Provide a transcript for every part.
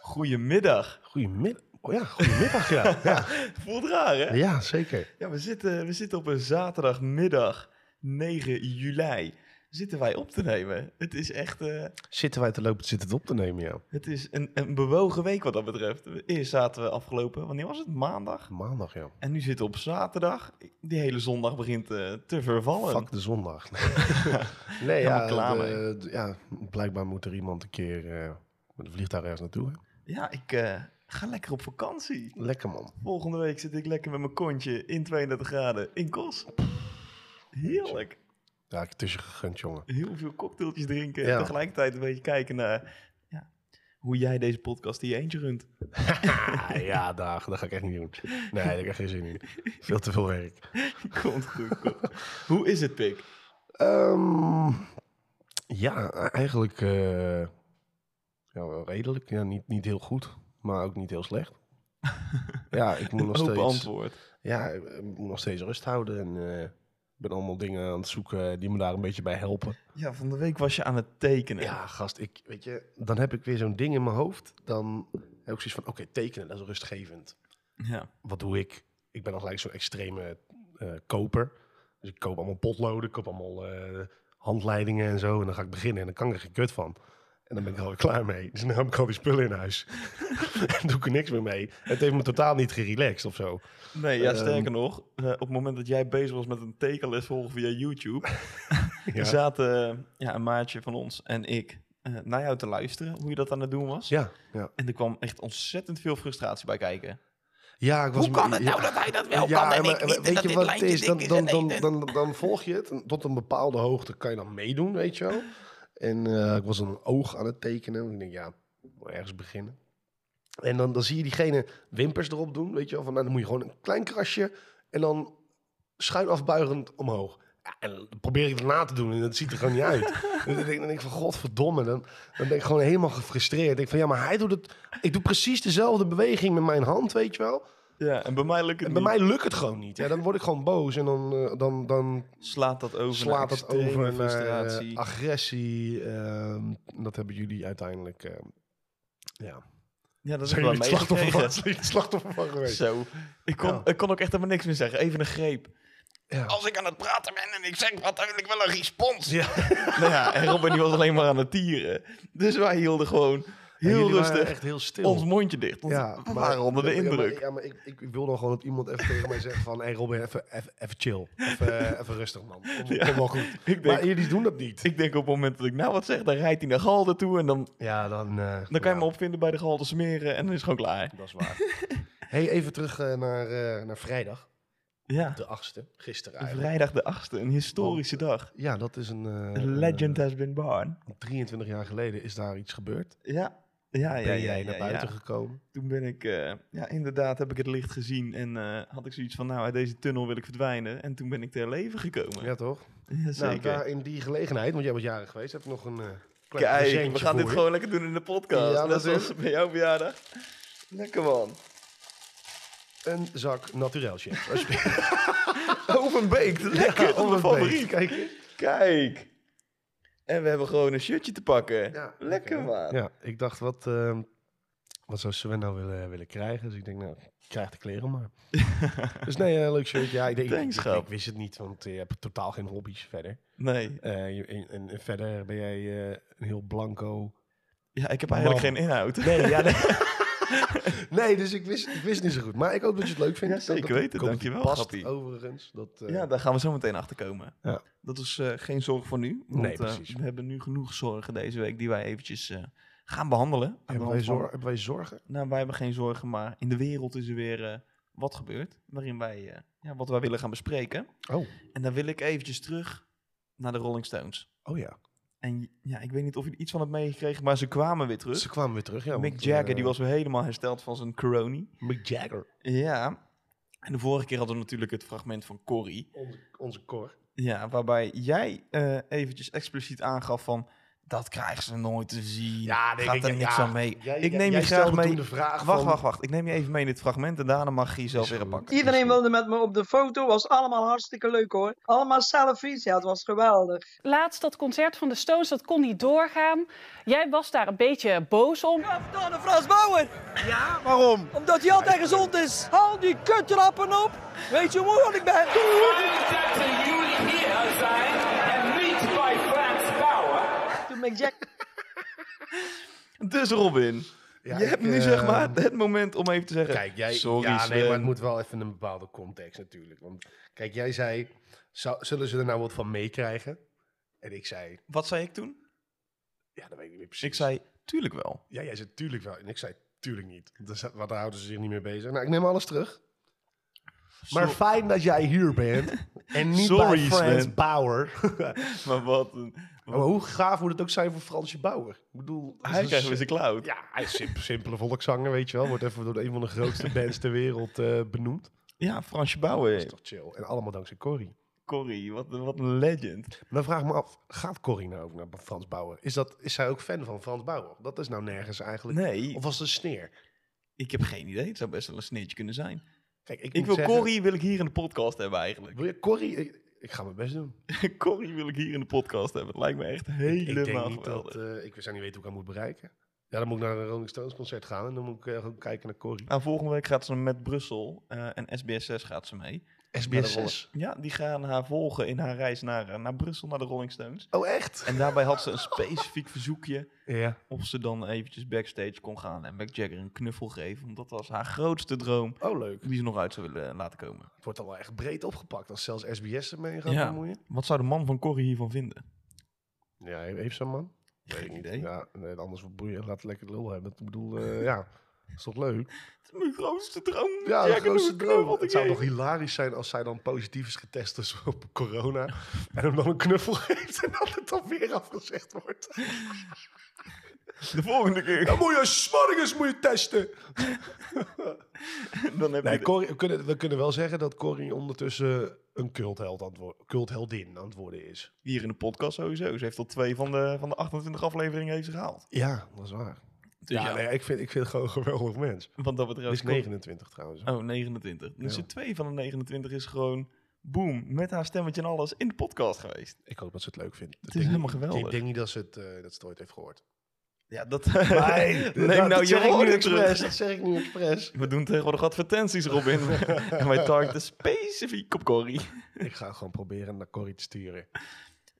Goedemiddag. Goedemiddag. Oh ja, goedemiddag, ja. ja. Voelt raar, hè? Ja, zeker. Ja, we zitten, we zitten op een zaterdagmiddag, 9 juli. Zitten wij op te nemen. Het is echt eh, Zitten wij te lopen, zitten het op te nemen, ja. het is een, een bewogen week wat dat betreft. Eerst zaten we afgelopen, wanneer was het? Maandag. Maandag, ja. En nu zitten we op zaterdag. Die hele zondag begint eh, te vervallen. Fuck de zondag. nee, ja, Helemaal klaar de- de- ja, blijkbaar moet er iemand een keer eh, met een vliegtuig ergens naartoe. Hè? Ja, ik eh, ga lekker op vakantie. Lekker, man. Volgende week zit ik lekker met mijn kontje in 32 graden in Kos. Heerlijk. Ja, ik tussen gegund, jongen. heel veel cocktailtjes drinken. En Ja. tegelijkertijd een beetje kijken naar ja, hoe jij deze podcast in je eentje runt. Ah, ja, daar, dat ga ik echt niet doen. Nee, daar heb ik echt geen zin in. Veel te veel werk. Komt goed. komt. hoe is het, Pik? Ehm, ja, eigenlijk eh, ja, wel redelijk. Ja, niet, niet heel goed, maar ook niet heel slecht. ja, ik moet Een nog open steeds... antwoord. Ja, ik ik moet nog steeds rust houden en eh, ik ben allemaal dingen aan het zoeken die me daar een beetje bij helpen. Ja, van de week was je aan het tekenen. Ja, gast, ik, weet je, dan heb ik weer zo'n ding in mijn hoofd. Dan heb ik zoiets van, oké, tekenen, dat is rustgevend. Ja. Wat doe ik? Ik ben al gelijk zo'n extreme eh, koper. Dus ik koop allemaal potloden, ik koop allemaal eh, handleidingen en zo. En dan ga ik beginnen en dan kan ik er geen kut van. En dan ben ik er alweer klaar mee. Dus nu heb ik al die spullen in huis. en doe ik er niks meer mee. Het heeft me totaal niet gerelaxed of zo. Nee, ja, Ehm. sterker nog, eh, op het moment dat jij bezig was met een tekenles volgen via YouTube, Ja. zaten eh, ja, een maatje van ons en ik eh, naar jou te luisteren, hoe je dat aan het doen was. Ja, ja. En er kwam echt ontzettend veel frustratie bij kijken. ja ik was Hoe kan me- het ja. nou dat hij dat wel Ja, kan en maar ik niet? en weet dat je dit wat het lijntje is? Dan, dik dan, en dan, nee, dan, dan volg je het. en Tot een bepaalde hoogte kan je dan meedoen, weet je wel. En eh, ik was een oog aan het tekenen. En ik denk, ja, ik moet ergens beginnen. En dan, dan zie je diegene wimpers erop doen, weet je wel. Van, nou, dan moet je gewoon een klein krasje. En dan schuin afbuigend omhoog. Ja, en dan probeer ik het na te doen en dat ziet er gewoon niet uit. Dus dan denk, ik- dan denk ik van, godverdomme. Dan, dan ben ik gewoon helemaal gefrustreerd. Ik denk van, ja, maar hij doet het... Ik doe precies dezelfde beweging met mijn hand, weet je wel. Ja, en bij mij lukt het En bij niet. mij lukt het gewoon niet. Ja, dan word ik gewoon boos en dan, eh, dan, dan slaat dat over naar slaat het extreme over naar frustratie. eh, agressie. ehm, en dat hebben jullie uiteindelijk. ehm, ja. ja, dat is Zijn wel jullie het slachtoffer, van, meegekregen. zijn jullie het slachtoffer van geweest? Zo, ik kon, Ja. ik kon ook echt helemaal niks meer zeggen. Even een greep. Ja. Als ik aan het praten ben en ik zeg natuurlijk wel een respons. nou ja, en Robin die was alleen maar aan het tieren. Dus wij hielden gewoon Ja, heel jullie waren rustig Echt heel stil. ons mondje dicht. Want ja, we waren onder de ja, maar- indruk. Ja, maar, ik, ik wil dan gewoon dat iemand even tegen mij zegt van... Hé hey Robin, even, even, even chill. Even, eh, even rustig man. Kom, Ja. kom wel goed. Ik, denk, Maar jullie doen dat niet. ik denk op het moment dat ik nou wat zeg, dan rijdt hij naar Galde toe. En dan, dan Ja, dan... eh, kan je nou. hem opvinden bij de Galde smeren en dan is het gewoon klaar. Dat is waar. hey, even terug eh, naar, eh, naar vrijdag, Ja, de 8e, gisteren eigenlijk. vrijdag de 8e, een historische dag. Ja, dat is een... A eh, legend has been born. eh, 23 jaar geleden is daar iets gebeerd. Ja, ja, ja. Ben ja, jij ja, naar ja. buiten gekomen? toen ben ik, eh, ja, inderdaad heb ik het licht gezien en eh, had ik zoiets van, nou, uit deze tunnel wil ik verdwijnen. En toen ben ik ter leven gekomen. Ja, Ja, toch? Nou, zeker. daar in die gelegenheid, want jij was jarig geweest, heb ik nog een eh klein Kijk, we presentje gaan dit voor je. gewoon lekker doen in de podcast. Ja, Net natuurlijk. zoals bij jouw verjaardag. Lekker man. Een zak naturel chips. Alsjeblieft. Overbeekt, lekker. dat is mijn Albert Beek, favoriet. Kijk eens. Kijk. En we hebben gewoon een shirtje te pakken. Ja, lekker hè? man. Ja, ik dacht, wat, ehm, wat zou Sven nou willen, willen krijgen? Dus ik denk, nou, krijg de kleren maar. dus nee, eh, leuk shirtje. Ja, ik, denk, ik- Thanks, ik- grap. ik wist het niet, want je hebt totaal geen hobby's verder. Nee, Eh, je- en, en- en verder ben jij eh, een heel blanco. ja, ik heb eigenlijk Man. geen inhoud. Nee, ja, nee. nee dus ik wist, ik wist niet zo goed. Maar ik hoop dat je het leuk vindt. Ja, zeker Dat- dat- weten. ik hoop dat Dankjewel, het past, grappie. overigens. Dat, eh, Ja, daar gaan we zo meteen achter komen. Ja. Dat is eh, geen zorg voor nu. Want, Nee, eh, precies. we hebben nu genoeg zorgen deze week die wij eventjes eh, gaan behandelen. Aan de hebben, wij hand van- zor- hebben wij zorgen? Nou, wij hebben geen zorgen, maar in de wereld is er weer eh, wat gebeurd. Waarin wij, eh, ja, wat wij willen gaan bespreken. Oh, En dan wil ik eventjes terug naar de Rolling Stones. oh ja. En ja, ik weet niet of jullie iets van het meegekregen, maar ze kwamen weer terug. Ze kwamen weer terug. Ja, Mick want, Jagger, eh, die was weer helemaal hersteld van zijn corona. Mick Jagger. Ja. En de vorige keer hadden we natuurlijk het fragment van Corrie. Onze, onze Cor. Ja, waarbij jij eh, eventjes expliciet aangaf van... Dat krijgen ze nooit te zien. Ja, denk Gaat ik, er ja. niks aan mee. Jij- ik jij- neem jij je graag stelde mee. toen de vraag wacht, van- wacht, wacht. Ik neem je even mee in dit fragment en daarna mag je jezelf Is weer goed. pakken. Iedereen wilde met me op de foto. Was allemaal hartstikke leuk hoor. Allemaal selfies. Ja, het was geweldig. Laatst dat concert van de Stones, dat kon niet doorgaan. Jij was daar een beetje boos om. Kapitein Frans Bauer. Ja, waarom? Omdat hij altijd gezond is. Haal die kuttrappen op. Weet je hoe moe ik ben? Toen ben ik Jack Dus Robin, Ja, je ik, hebt nu eh, zeg maar het moment om even te zeggen... Kijk, jij, Sorry ja, nee, maar het Sven. moet wel even een bepaalde context natuurlijk. Want kijk, jij zei, zou- zullen ze er nou wat van meekrijgen? En ik zei, Wat zei ik toen? ja, dat weet ik niet meer precies. Ik zei, tuurlijk wel. ja, jij zei tuurlijk wel. En ik zei, tuurlijk niet. Dus, dat- want daar houden ze zich niet mee bezig. Nou, ik neem alles terug. Maar Zo- fijn dat jij hier bent. en niet Sorry, bij Frans Sven. Bauer. maar wat een... maar hoe gaaf moet het ook zijn voor Fransje Bauer? Ik bedoel, dat is Hij een krijgt weer s- zijn cloud. Ja. Ja, hij is simp- simpele volkszanger, weet je wel. Wordt even door een van de grootste bands ter wereld eh, benoemd. Fransje Dat is Bouwer. toch chill. En allemaal dankzij Corrie. Corrie, wat, een- wat een legend. Maar dan vraag ik me af, gaat Corrie nou ook naar Frans Bauer? Is, dat, is zij ook fan van Frans Bauer? Dat is nou nergens eigenlijk. Nee, Of was het een sneer? ik heb geen idee. Het zou best wel een sneertje kunnen zijn. Kijk, ik, Ik moet wil zeggen- Corrie wil ik hier in de podcast hebben eigenlijk. Wil je Corrie? Ik, ik ga mijn best doen. Corrie wil ik hier in de podcast hebben. Het lijkt me echt Ik denk helemaal niet geweldig. dat... eh, ik zou niet weten hoe ik haar moet bereiken. Ja, dan moet ik naar een Rolling Stones concert gaan. En dan moet ik eh, gewoon kijken naar Corrie. Nou, volgende week gaat ze met Brussel eh, en SBS6 gaat ze mee. SBS Naar de 6. Ja, die gaan haar volgen in haar reis naar, eh, naar Brussel, naar de Rolling Stones. Oh, echt? En daarbij had ze een specifiek verzoekje Ja. of ze dan eventjes backstage kon gaan en Mick Jagger een knuffel geven. Want dat was haar grootste droom Oh, leuk. die ze nog uit zou willen eh, laten komen. Het wordt al wel echt breed opgepakt als zelfs SBS ermee gaat Ja. bemoeien. Wat zou de man van Corrie hiervan vinden? Ja, he- heeft zo'n man? Geen ik niet. idee. Ja, nee, anders wordt boeien. Laat lekker lul hebben. Ik bedoel, eh, ja, is toch leuk? Het is mijn grootste droom. Mick Ja, de Jagger nog grootste een knuffel droom. te Het zou geven. nog hilarisch zijn als zij dan positief is getest dus op corona. en hem dan een knuffel geeft en dat het dan weer afgezegd wordt. De volgende keer. Dan moet je smarrigens moet je testen. Dan heb Nee, je de- Corrie, we, kunnen, we kunnen wel zeggen dat Corrie ondertussen een cultheld aan het wo- cultheldin aan het worden is. hier in de podcast sowieso. Ze heeft al twee van de, van de 28 afleveringen heeft ze gehaald. Ja, dat is waar. Dus ja, ja, Nee, ik, vind, ik vind het gewoon een geweldig mens. want dat Hij betreft... is 29 trouwens. Oh, 29. Dus Ja. de twee van de 29 is gewoon, boom, met haar stemmetje en alles in de podcast geweest. Ik hoop dat ze het leuk vindt. Het Ik is denk- helemaal geweldig. Ik denk niet dat ze het, eh, dat ze het ooit heeft gehoord. Ja, dat... dat- neem nou dat je zeg ik nu woorden expres, terug. Dat zeg ik nu expres. We doen tegenwoordig advertenties, Robin. en wij targeten specifiek op Corrie. ik ga gewoon proberen naar Corrie te sturen.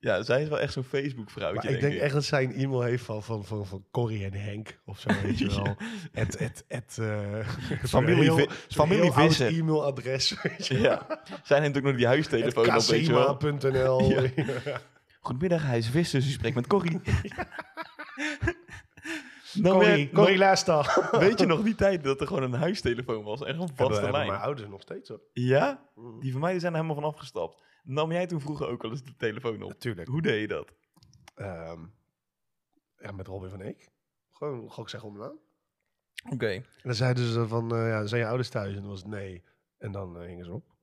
Ja, zij is wel echt zo'n Facebook-vrouwtje, Maar ik denk echt dat zij een e-mail heeft van, van, van, van Corrie en Henk of zo, weet je wel. Het, het, het, eh, Familie zo'n heel- Vi- zo'n familie heel oud Visser. e-mailadres, weet je wel. Ja, zij neemt ook nog die Het huistelefoon op, weet je wel. Casima.nl. Ja. Nou, Goedemiddag, hij is Visser, dus u spreekt met Corrie. Dan Corrie, werd- Corrie Laasta. Weet je nog die tijd dat er gewoon een huistelefoon was en gewoon Hebben, vaste hebben lijn? mijn ouders nog steeds hoor. Ja? Die van mij zijn er helemaal van afgestapt. Nam jij toen vroeger ook wel eens de telefoon op? Natuurlijk. Hoe deed je dat? Ehm, ja, met Robin van Eek. Gewoon, gewoon zeggen om de naam. Oké. En dan zeiden ze van, eh, ja, zijn je ouders thuis? En dan was het nee. En dan eh, hingen ze op.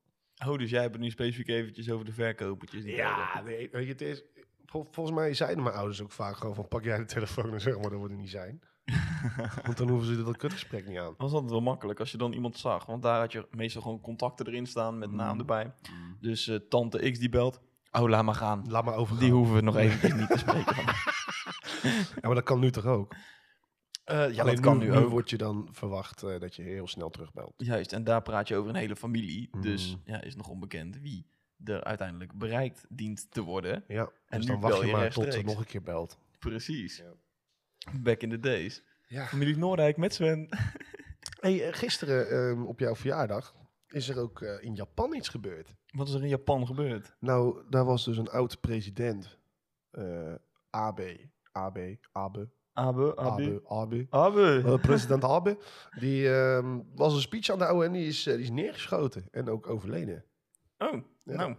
Oh, dus jij hebt het nu specifiek eventjes over de verkopertjes. die deden. Ja, nee, weet je, het is... vol- volgens mij zeiden mijn ouders ook vaak gewoon van... pak jij de telefoon en zeg maar, dat wordt er niet zijn. Want dan hoeven ze dat kutgesprek niet aan. was altijd wel makkelijk als je dan iemand zag. Want daar had je meestal gewoon contacten erin staan met naam erbij. Dus eh, tante X die belt. Oh, laat maar gaan. Laat maar overgaan. Die hoeven we nog eventjes niet te spreken. Ja, maar dat kan nu toch ook? Eh, ja, Alleen dat kan nu, ook. wordt je dan verwacht eh, dat je heel snel terugbelt. Juist, en daar praat je over een hele familie. Dus Mm. ja, is nog onbekend wie er uiteindelijk bereikt dient te worden. Ja, En dus nu dan wacht bel je je maar tot ze rechtstreeks. nog een keer belt. Precies. Ja. Back in the days. Ja. Familie Noordijk met Sven. Hey, eh, gisteren ehm, op jouw verjaardag is er ook eh, in Japan iets gebeurd. Wat is er in Japan gebeurd? Nou, daar was dus een oud president. eh Abe. Abe. Abe. Abe, Abe. Abe, Abe. Abe. Eh, president Abe, die ehm, was een speech aan de oude en die is, eh, die is neergeschoten en ook overleden. Oh, Ja. nou.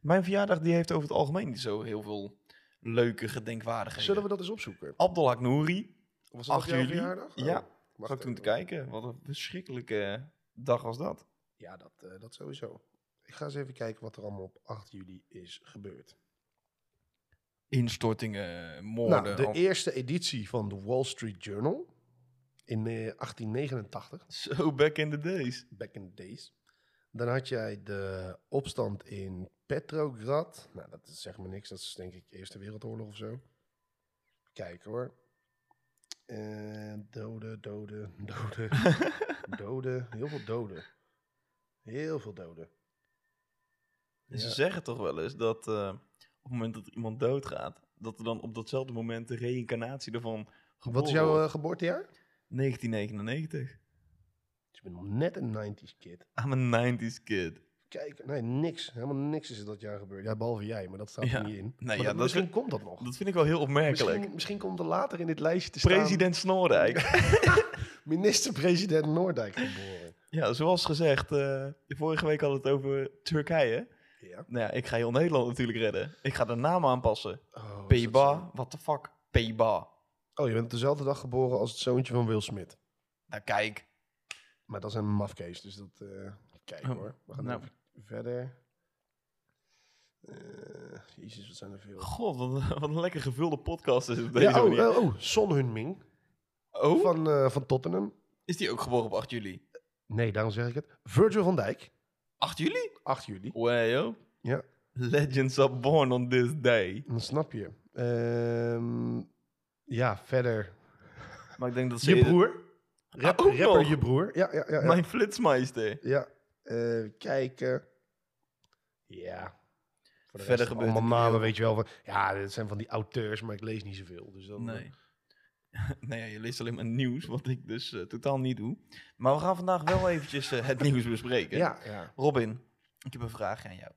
Mijn verjaardag die heeft over het algemeen niet zo heel veel leuke gedenkwaardigheden. Zullen we dat eens opzoeken? Abdel Aknouri. Was dat 8 op jouw juli? verjaardag? Oh, Ja. wacht Zat ik toen te even. kijken. Wat een verschrikkelijke dag was dat. Ja, dat, eh, dat sowieso. Ik ga eens even kijken wat er allemaal op 8 juli is gebeurd. Instortingen, moorden. Nou, de al- eerste editie van de Wall Street Journal in eh, 1889, Zo back in the days. back in the days. Dan had jij de opstand in Petrograd. Nou, dat zegt me niks. Dat is denk ik Eerste Wereldoorlog of zo. Kijk hoor. Eh, doden, doden, doden, doden. Heel veel doden. Heel veel doden. En Dus Ze Ja. zeggen toch wel eens dat eh, op het moment dat iemand doodgaat, dat er dan op datzelfde moment de reïncarnatie ervan geboren Wat is jouw wordt. eh, geboortejaar? 1999. Ik ben nog net een 90s kid. I'm a 90s kid. Kijk, nee, niks. Helemaal niks is er dat jaar gebeurd. Ja, behalve jij, maar dat staat Ja. er niet in. Nee, Maar ja, dat- dat misschien is- komt dat nog. Dat vind ik wel heel opmerkelijk. Misschien, misschien komt er later in dit lijstje te staan... President Snorrijk. Minister-president Noordijk geboren. ja, zoals gezegd, eh, vorige week hadden we het over Turkije. Ja. Nou ja, ik ga heel Nederland natuurlijk redden. Ik ga de naam aanpassen. Oh, is dat Peba, what the fuck? Peba. zo? Oh, je bent op dezelfde dag geboren als het zoontje van Will Smith. Nou kijk, Maar dat is een mafkees, dus dat... eh kijk Oh, hoor, we gaan nou. even verder. Eh, jezus, wat zijn er veel. god, wat, een- wat een lekker gevulde podcast is het op deze Ja, oh, manier. oh, oh, Son Heung-min Oh, van, eh, van Tottenham. is die ook geboren op 8 juli? Nee, daarom zeg ik het. Virgil van Dijk, 8 juli? 8 juli. Way, yo. Ja. Legends are born on this day. Dan snap je. Ehm, ja, verder. Eh, Maar ik denk dat ze... Je broer. Rap, ook rapper nog? je broer. Ja, ja, ja. ja. Mijn flitsmeister. ja. eh, kijken. Ja. Voor de Verder rest gebeurt allemaal er niet namen, heel- weet je wel. Van, ja, dit zijn van die auteurs, maar ik lees niet zoveel. Dus dan, Nee. nou ja, je leest alleen maar nieuws, wat ik dus eh, totaal niet doe. Maar we gaan vandaag wel eventjes eh, het nieuws bespreken. Ja, ja. Robin, ik heb een vraag aan jou.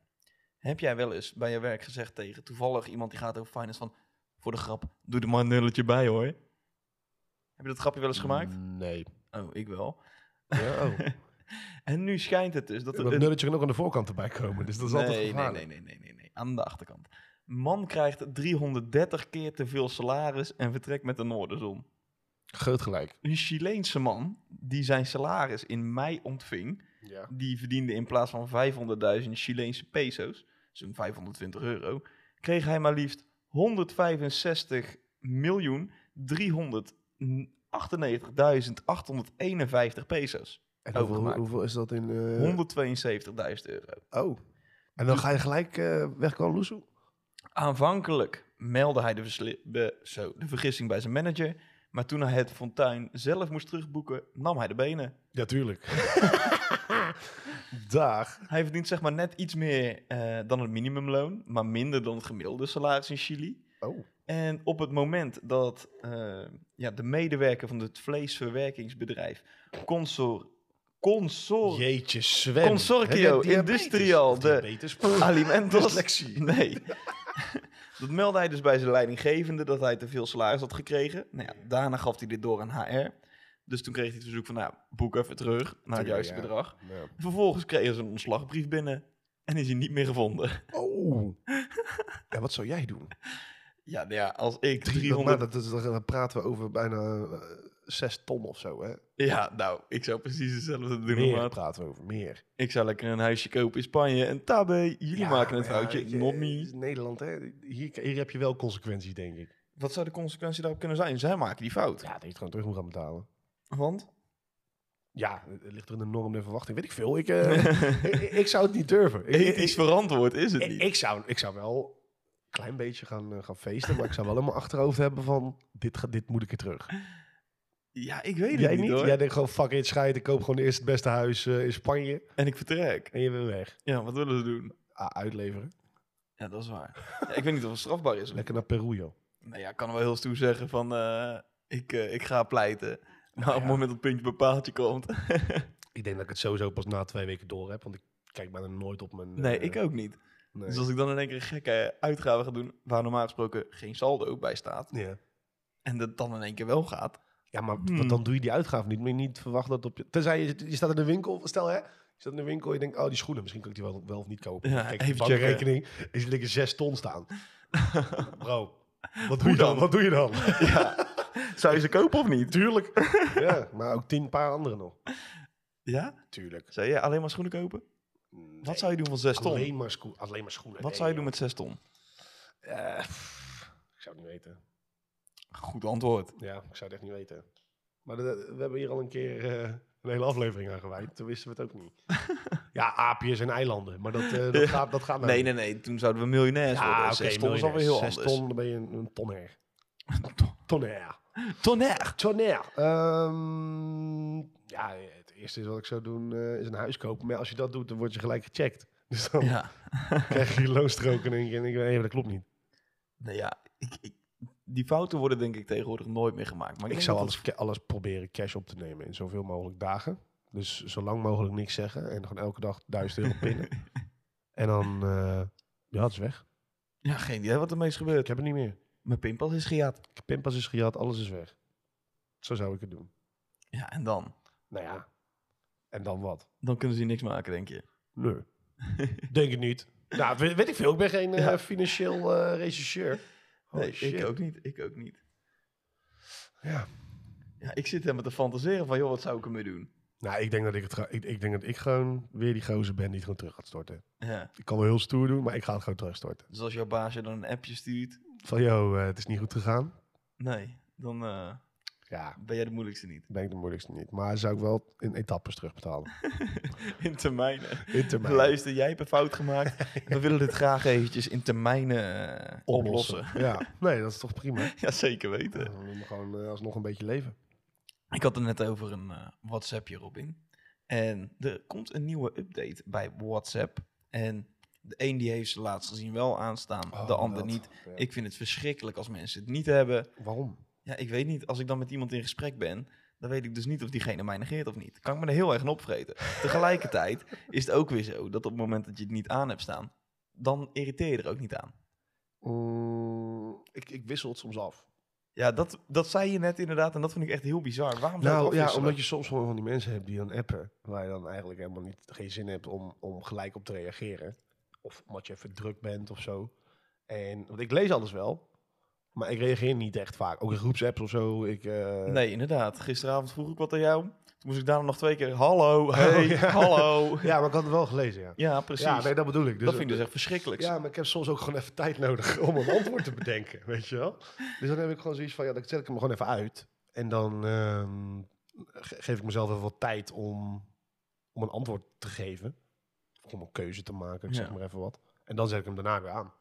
Heb jij wel eens bij je werk gezegd tegen toevallig iemand die gaat over finance van... Voor de grap, doe er maar een nulletje bij hoor. Heb je dat grapje wel eens gemaakt? Mm, Nee. Mm, Oh, ik wel. Ja, oh. En nu schijnt het dus dat er Dat een- nulletje kan ook aan de voorkant erbij komen, dus dat is altijd nee, nee, gevaarlijk. nee, nee, nee, nee, nee. Aan de achterkant. Man krijgt 330 keer te veel salaris en vertrekt met de Noorderzon. Groot gelijk. Een Chileense man die zijn salaris in mei ontving, Ja. die verdiende in plaats van 500.000 Chileense peso's, zo'n 520 euro, kreeg hij maar liefst 165 miljoen 398.851 peso's. En hoeveel, Overgemaakt. hoeveel is dat in... eh, 172.000 euro. Oh. En dan ga je gelijk eh, weg kan Loesoe? Aanvankelijk meldde hij de, versli- be- zo, de vergissing bij zijn manager. Maar toen hij het fontein zelf moest terugboeken, nam hij de benen. Ja, tuurlijk. Dag. Hij verdient zeg maar net iets meer eh, dan het minimumloon, maar minder dan het gemiddelde salaris in Chili. Oh. En op het moment dat eh, ja, de medewerker van het vleesverwerkingsbedrijf Consor, Consor Jeetje, Sven. Consorcio Heb jij diabetes? Industrial, Of de- Ah. diabetes? Pff, Alimentos Dyslexie. Nee. dat meldde hij dus bij zijn leidinggevende dat hij te veel salaris had gekregen. Nou ja, daarna gaf hij dit door aan HR. Dus toen kreeg hij het verzoek van, nou, boek even terug naar het Tuurlijk, juiste ja. bedrag. Ja. Vervolgens kregen ze een ontslagbrief binnen en is hij niet meer gevonden. Oh. Ja, wat zou jij doen? Ja, nou ja als ik Maar 300... dat, is- dan praten we over bijna eh, zes ton of zo, hè? Ja, nou, ik zou precies hetzelfde doen. Meer maat. praten we over, meer. Ik zou lekker een huisje kopen in Spanje. En tabé, jullie Ja, maken het maar ja, foutje, weet je, not het is me. Nederland, hè? Hier, hier heb je wel consequenties, denk ik. Wat zou de consequentie daarop kunnen zijn? Zij maken die fout. Ja, dat je het gewoon terug moet gaan betalen. Want? Ja, het ligt er in de norm en verwachting. Weet ik veel. Ik, eh, ik, ik zou het niet durven. Ik- ik- Ethisch verantwoord is het Ik, niet. ik, zou, ik zou wel een klein beetje gaan, eh, gaan feesten, maar ik zou wel in mijn achterhoofd hebben van, dit, ga, dit moet ik er terug. Ja, ik weet het Jij niet, niet? hoor. Jij denkt gewoon, fuck it, scheid, ik koop gewoon eerst het beste huis eh, in Spanje En ik vertrek. en je bent weg. Ja, wat willen ze doen? Ah, uitleveren. Ja, dat is waar. Ja, ik weet niet of het strafbaar is. Lekker naar Peru, joh. Nou ja, ik kan er wel heel stoer zeggen van... eh, ik, eh, ik ga pleiten. Maar op het ja. moment dat het puntje bepaaltje komt... Ik denk dat ik het sowieso pas na twee weken door heb, want ik kijk bijna nooit op mijn... nee, eh, ik ook niet. nee. Dus als ik dan in één keer een gekke uitgave ga doen... waar normaal gesproken geen saldo bij staat... Ja. en dat dan in één keer wel gaat... ja, maar Hmm. want dan doe je die uitgave niet. Moet je niet verwachten dat op je... Tenzij je, je staat in de winkel, stel hè... Je staat in de winkel en je denkt, oh, die schoenen, misschien kan ik die wel, wel of niet kopen. Ja, Kijk, even op de checken. bankrekening is er liggen zes ton staan. Bro, wat doe je dan? dan? Wat doe je dan? ja. Zou je ze kopen of niet? Tuurlijk. ja, maar ook tien paar anderen nog. Ja? Tuurlijk. Zou je alleen maar schoenen kopen? Wat zou je doen van zes ton? Alleen maar, scho- alleen maar schoenen. Wat zou je doen met zes ton? met... Eh, zou het niet weten. Goed antwoord. Ja, ik zou het echt niet weten. Maar de- we hebben hier al een keer eh, een hele aflevering aan gewijd. Toen wisten we het ook niet. ja, aapjes en eilanden. Maar dat, eh, dat, Ja. gaat, dat gaat nou Nee, niet. nee, nee. Toen zouden we miljonairs worden. Ja, oké, Zes ton is alweer heel miljonairs. Zes anders. ton, dan ben je een, een tonner. Ton- Tonner. Tonner. Tonner. Ehm, ja, het eerste is wat ik zou doen eh, is een huis kopen. Maar ja, als je dat doet, dan word je gelijk gecheckt. Dus dan Ja. krijg je loonstroken en denk je, nee, dat klopt niet. Nou ja, ik, ik- die fouten worden denk ik tegenwoordig nooit meer gemaakt. Maar Ik denk zou dat alles, ca- alles proberen cash op te nemen in zoveel mogelijk dagen. Dus zo lang mogelijk niks zeggen en gewoon elke dag duizend euro pinnen. en dan, eh, ja, het is weg. het- Ja, geen idee wat er meest Ik gebeurt. heb het niet meer. Mijn pinpas is gejaagd. Ik heb pinpas is gejat, alles is weg. Zo zou ik het doen. Ja, en dan? Nou ja, en dan wat? Dan kunnen ze hier niks maken, denk je. Nee. Denk het niet. Nou, weet, weet ik veel. Ik ben geen eh, Ja. financieel eh regisseur. Holy nee, shit. ik ook niet. Ik ook niet. Ja. Ja, ik zit helemaal te fantaseren van, joh, wat zou ik ermee doen? Nou, ik denk dat ik, het ga- ik, ik denk dat ik gewoon weer die gozer ben die het gewoon terug gaat storten. Ja. Ik kan wel heel stoer doen, maar ik ga het gewoon terugstorten. Dus als jouw baas je dan een appje stuurt, Van, yo, eh, het is niet goed gegaan. nee, dan eh, Ja, ben jij de moeilijkste niet. ik denk de moeilijkste niet. Maar zou ik wel in etappes terugbetalen. In termijnen. In termijn. Luister, jij hebt een fout gemaakt. We willen dit graag eventjes in termijnen eh, oplossen. Ja, nee, dat is toch prima. Ja, zeker weten. Dan moet je gewoon eh, alsnog een beetje leven. Ik had het net over een eh, WhatsAppje, Robin. En er komt een nieuwe update bij WhatsApp. En de een die heeft ze laatst gezien wel aanstaan, Oh, de ander dat. niet. Ja. Ik vind het verschrikkelijk als mensen het niet hebben. Waarom? Ja, ik weet niet, als ik dan met iemand in gesprek ben, dan weet ik dus niet of diegene mij negeert of niet. Kan ik me er heel erg aan opvreten. Tegelijkertijd is het ook weer zo dat op het moment dat je het niet aan hebt staan, dan irriteer je er ook niet aan. Mm, ik, ik wissel het soms af. Ja, dat, dat zei je net inderdaad en dat vind ik echt heel bizar. Waarom zou Nou je het eh, ja, afwisselen? omdat je soms gewoon van die mensen hebt die dan appen. Waar je dan eigenlijk helemaal niet, geen zin hebt om, om gelijk op te reageren. Of omdat je even druk bent of zo. En, want ik lees alles wel. Maar ik reageer niet echt vaak. Ook in groepsapps of zo. Ik, eh, Nee, inderdaad. Gisteravond vroeg ik wat aan jou. Toen moest ik daarna nog twee keer... Hallo, hey, Oh, ja. hallo. Ja, maar ik had het wel gelezen, ja. Ja, precies. Ja, nee, dat bedoel ik. Dus, dat vind ik dus echt verschrikkelijk. Ja, maar ik heb soms ook gewoon even tijd nodig om een antwoord te bedenken, weet je wel. Dus dan heb ik gewoon zoiets van, ja, dan zet ik hem gewoon even uit. En dan ehm, ge- geef ik mezelf even wat tijd om, om een antwoord te geven. Of om een keuze te maken, ik zeg Ja. maar even wat. En dan zet ik hem daarna weer aan.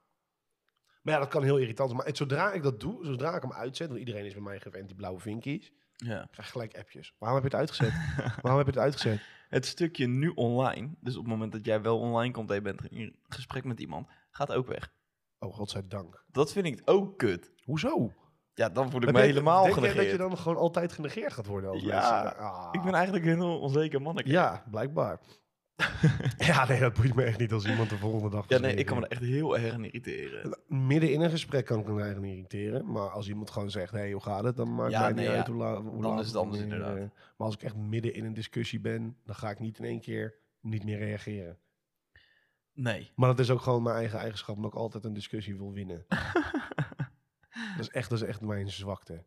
Maar ja, dat kan heel irritant zijn. Maar het- zodra ik dat doe, zodra ik hem uitzet... want iedereen is bij mij gewend, die blauwe vinkies... Ja. krijg ik gelijk appjes. Waarom heb je het uitgezet? Waarom heb je het uitgezet? Het stukje nu online, dus op het moment dat jij wel online komt en je bent in gesprek met iemand, gaat ook weg. Oh, godzijdank. Dat vind ik ook kut. Hoezo? Ja, dan voel ik Heb me jij- helemaal denk jij genegeerd. dat je dan gewoon altijd genegeerd gaat worden als Ja, mensen? Ah. Ik ben eigenlijk een heel onzeker mannetje. Ja, Ja, blijkbaar. ja, nee, dat boeit me echt niet als iemand de volgende dag... nee, ik kan me genegeerd er echt heel erg aan irriteren. wordt. Midden in een gesprek kan ik me eigen irriteren. Maar als iemand gewoon zegt, hé, hey, hoe gaat het? Dan maakt Ja, mij nee, niet ja. uit hoe, la- hoe laat... Dan is het anders, eh, inderdaad. Maar als ik echt midden in een discussie ben, dan ga ik niet in één keer niet meer reageren. Nee. Maar dat is ook gewoon mijn eigen eigenschap, omdat ik altijd een discussie wil winnen. dat, is echt, dat is echt mijn zwakte.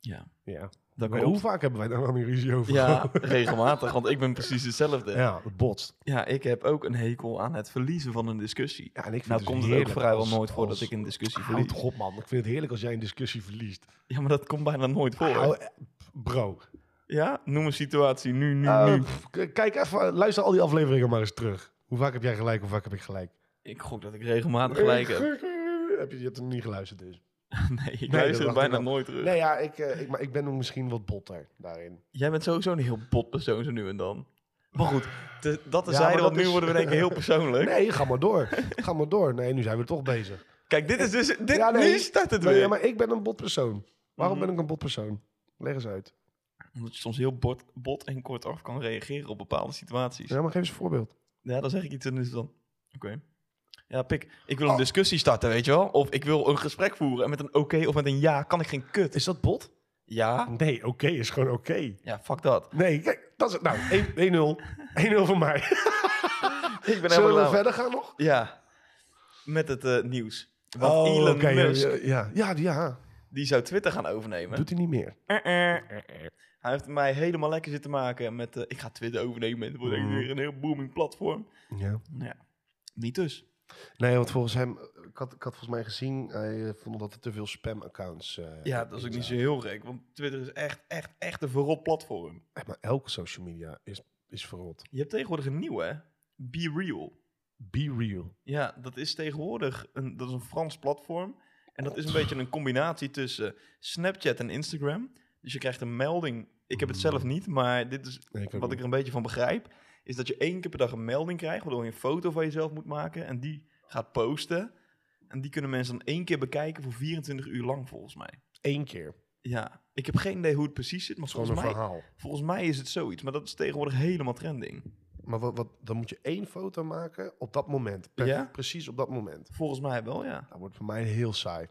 Ja. Ja. Dat Maar klopt. hoe vaak hebben wij daar dan een ruzie over? Ja, regelmatig, want ik ben precies hetzelfde. Ja. Ja, het botst. ik heb ook een hekel aan het verliezen van een discussie. Ja, en ik vind Nou het komt dus het ook heerlijk vrijwel als- nooit voor als- dat ik een discussie Houd verlies. toch op, man. Ik vind het heerlijk als jij een discussie verliest. Ja, maar dat komt bijna nooit voor. Hou- eh, bro, Ja? Noem een situatie nu, nu, Eh, nu. pff, k- kijk even, luister al die afleveringen maar eens terug. Hoe vaak heb jij gelijk, hoe vaak heb ik gelijk? Ik gok dat ik regelmatig gelijk heb. Heb je, je hebt hem niet geluisterd dus. Nee, ik luister dat dacht het ik bijna al. nooit terug. Nee, ja, ik, eh, ik, maar ik ben misschien wat botter daarin. Jij bent sowieso een heel bot persoon zo nu en dan. Maar goed, te- dat Ja, tezijde, maar want dat nu is- worden we denk ik heel persoonlijk. Nee, ga maar door. ga maar door. Nee, nu zijn we toch bezig. Kijk, dit is dus... Dit, Ja, nee. Nu start het Nee, weer. ja, maar ik ben een botpersoon. Waarom Mhm. ben ik een botpersoon? Leg eens uit. Omdat je soms heel bot, bot en kortaf kan reageren op bepaalde situaties. Ja, Ja, maar geef eens een voorbeeld. dan zeg ik iets en dan is het dan... Oké. Ja, pik, ik wil een discussie starten, weet je wel? Of ik wil een gesprek voeren en met een oké of met een ja kan ik geen kut. Is dat bot? Ja? Nee, oké is gewoon oké. Ja, fuck dat. Nee, kijk, dat is het. Nou, 1-0. 1-0 voor mij. Oh, Ik ben Zullen we helemaal- verder gaan nog? Ja, met het eh, nieuws. Want Elon Oh, oké, ja, Musk, ja, ja, ja, die- ja. die zou Twitter gaan overnemen. Doet hij niet meer. Eh, eh. Hij heeft mij helemaal lekker zitten maken met... eh, ik ga Twitter overnemen en het wordt echt Mhm. weer een heel booming platform. Ja. Nou Ja, niet dus. Nee, want volgens hem, ik had, ik had volgens mij gezien, hij eh, vond dat er te veel spam-accounts eh, Ja, dat is ook in niet zo zaten. heel gek, want Twitter is echt, echt, echt een verrot platform. Echt, maar elke social media is, is verrot. Je hebt tegenwoordig een nieuwe, hè? Be Real. Be real. Ja, dat is tegenwoordig een, dat is een Frans platform. En dat is een beetje een combinatie tussen Snapchat en Instagram. Dus je krijgt een melding. Ik heb het zelf niet, maar dit is Nee, ik ook wat ik niet. er een beetje van begrijp. Is dat je één keer per dag een melding krijgt, waardoor je een foto van jezelf moet maken. En die gaat posten. En die kunnen mensen dan één keer bekijken voor 24 uur lang, volgens mij. Eén keer. Het Ja, ik heb geen idee hoe het precies zit, maar is gewoon een volgens mij, verhaal. volgens mij is het zoiets. Maar dat is tegenwoordig helemaal trending. Maar wat, wat, dan moet je één foto maken op dat moment. Per- Ja? Precies op dat moment. Volgens mij wel, ja. Dat wordt voor mij heel saai.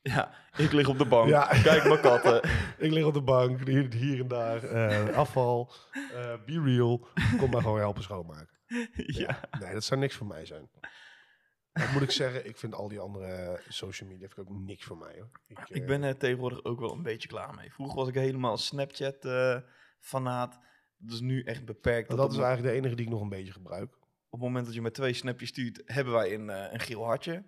Ja, ik lig op de bank. Ja. Kijk mijn katten. Ik lig op de bank, hier, hier en daar. eh, afval. eh, be real. Kom maar gewoon helpen schoonmaken. ja. Nee, dat zou niks voor mij zijn. Dat moet ik zeggen, ik vind al die andere social media vind ik ook niks voor mij. Hoor. eh, Ik ben er tegenwoordig ook wel een beetje klaar mee. Vroeger was ik helemaal Snapchat-fanaat. dus nu echt beperkt. dat, Dat is op, eigenlijk de enige die ik nog een beetje gebruik. op het moment dat je met twee snapjes stuurt, hebben wij een, eh, een geel hartje.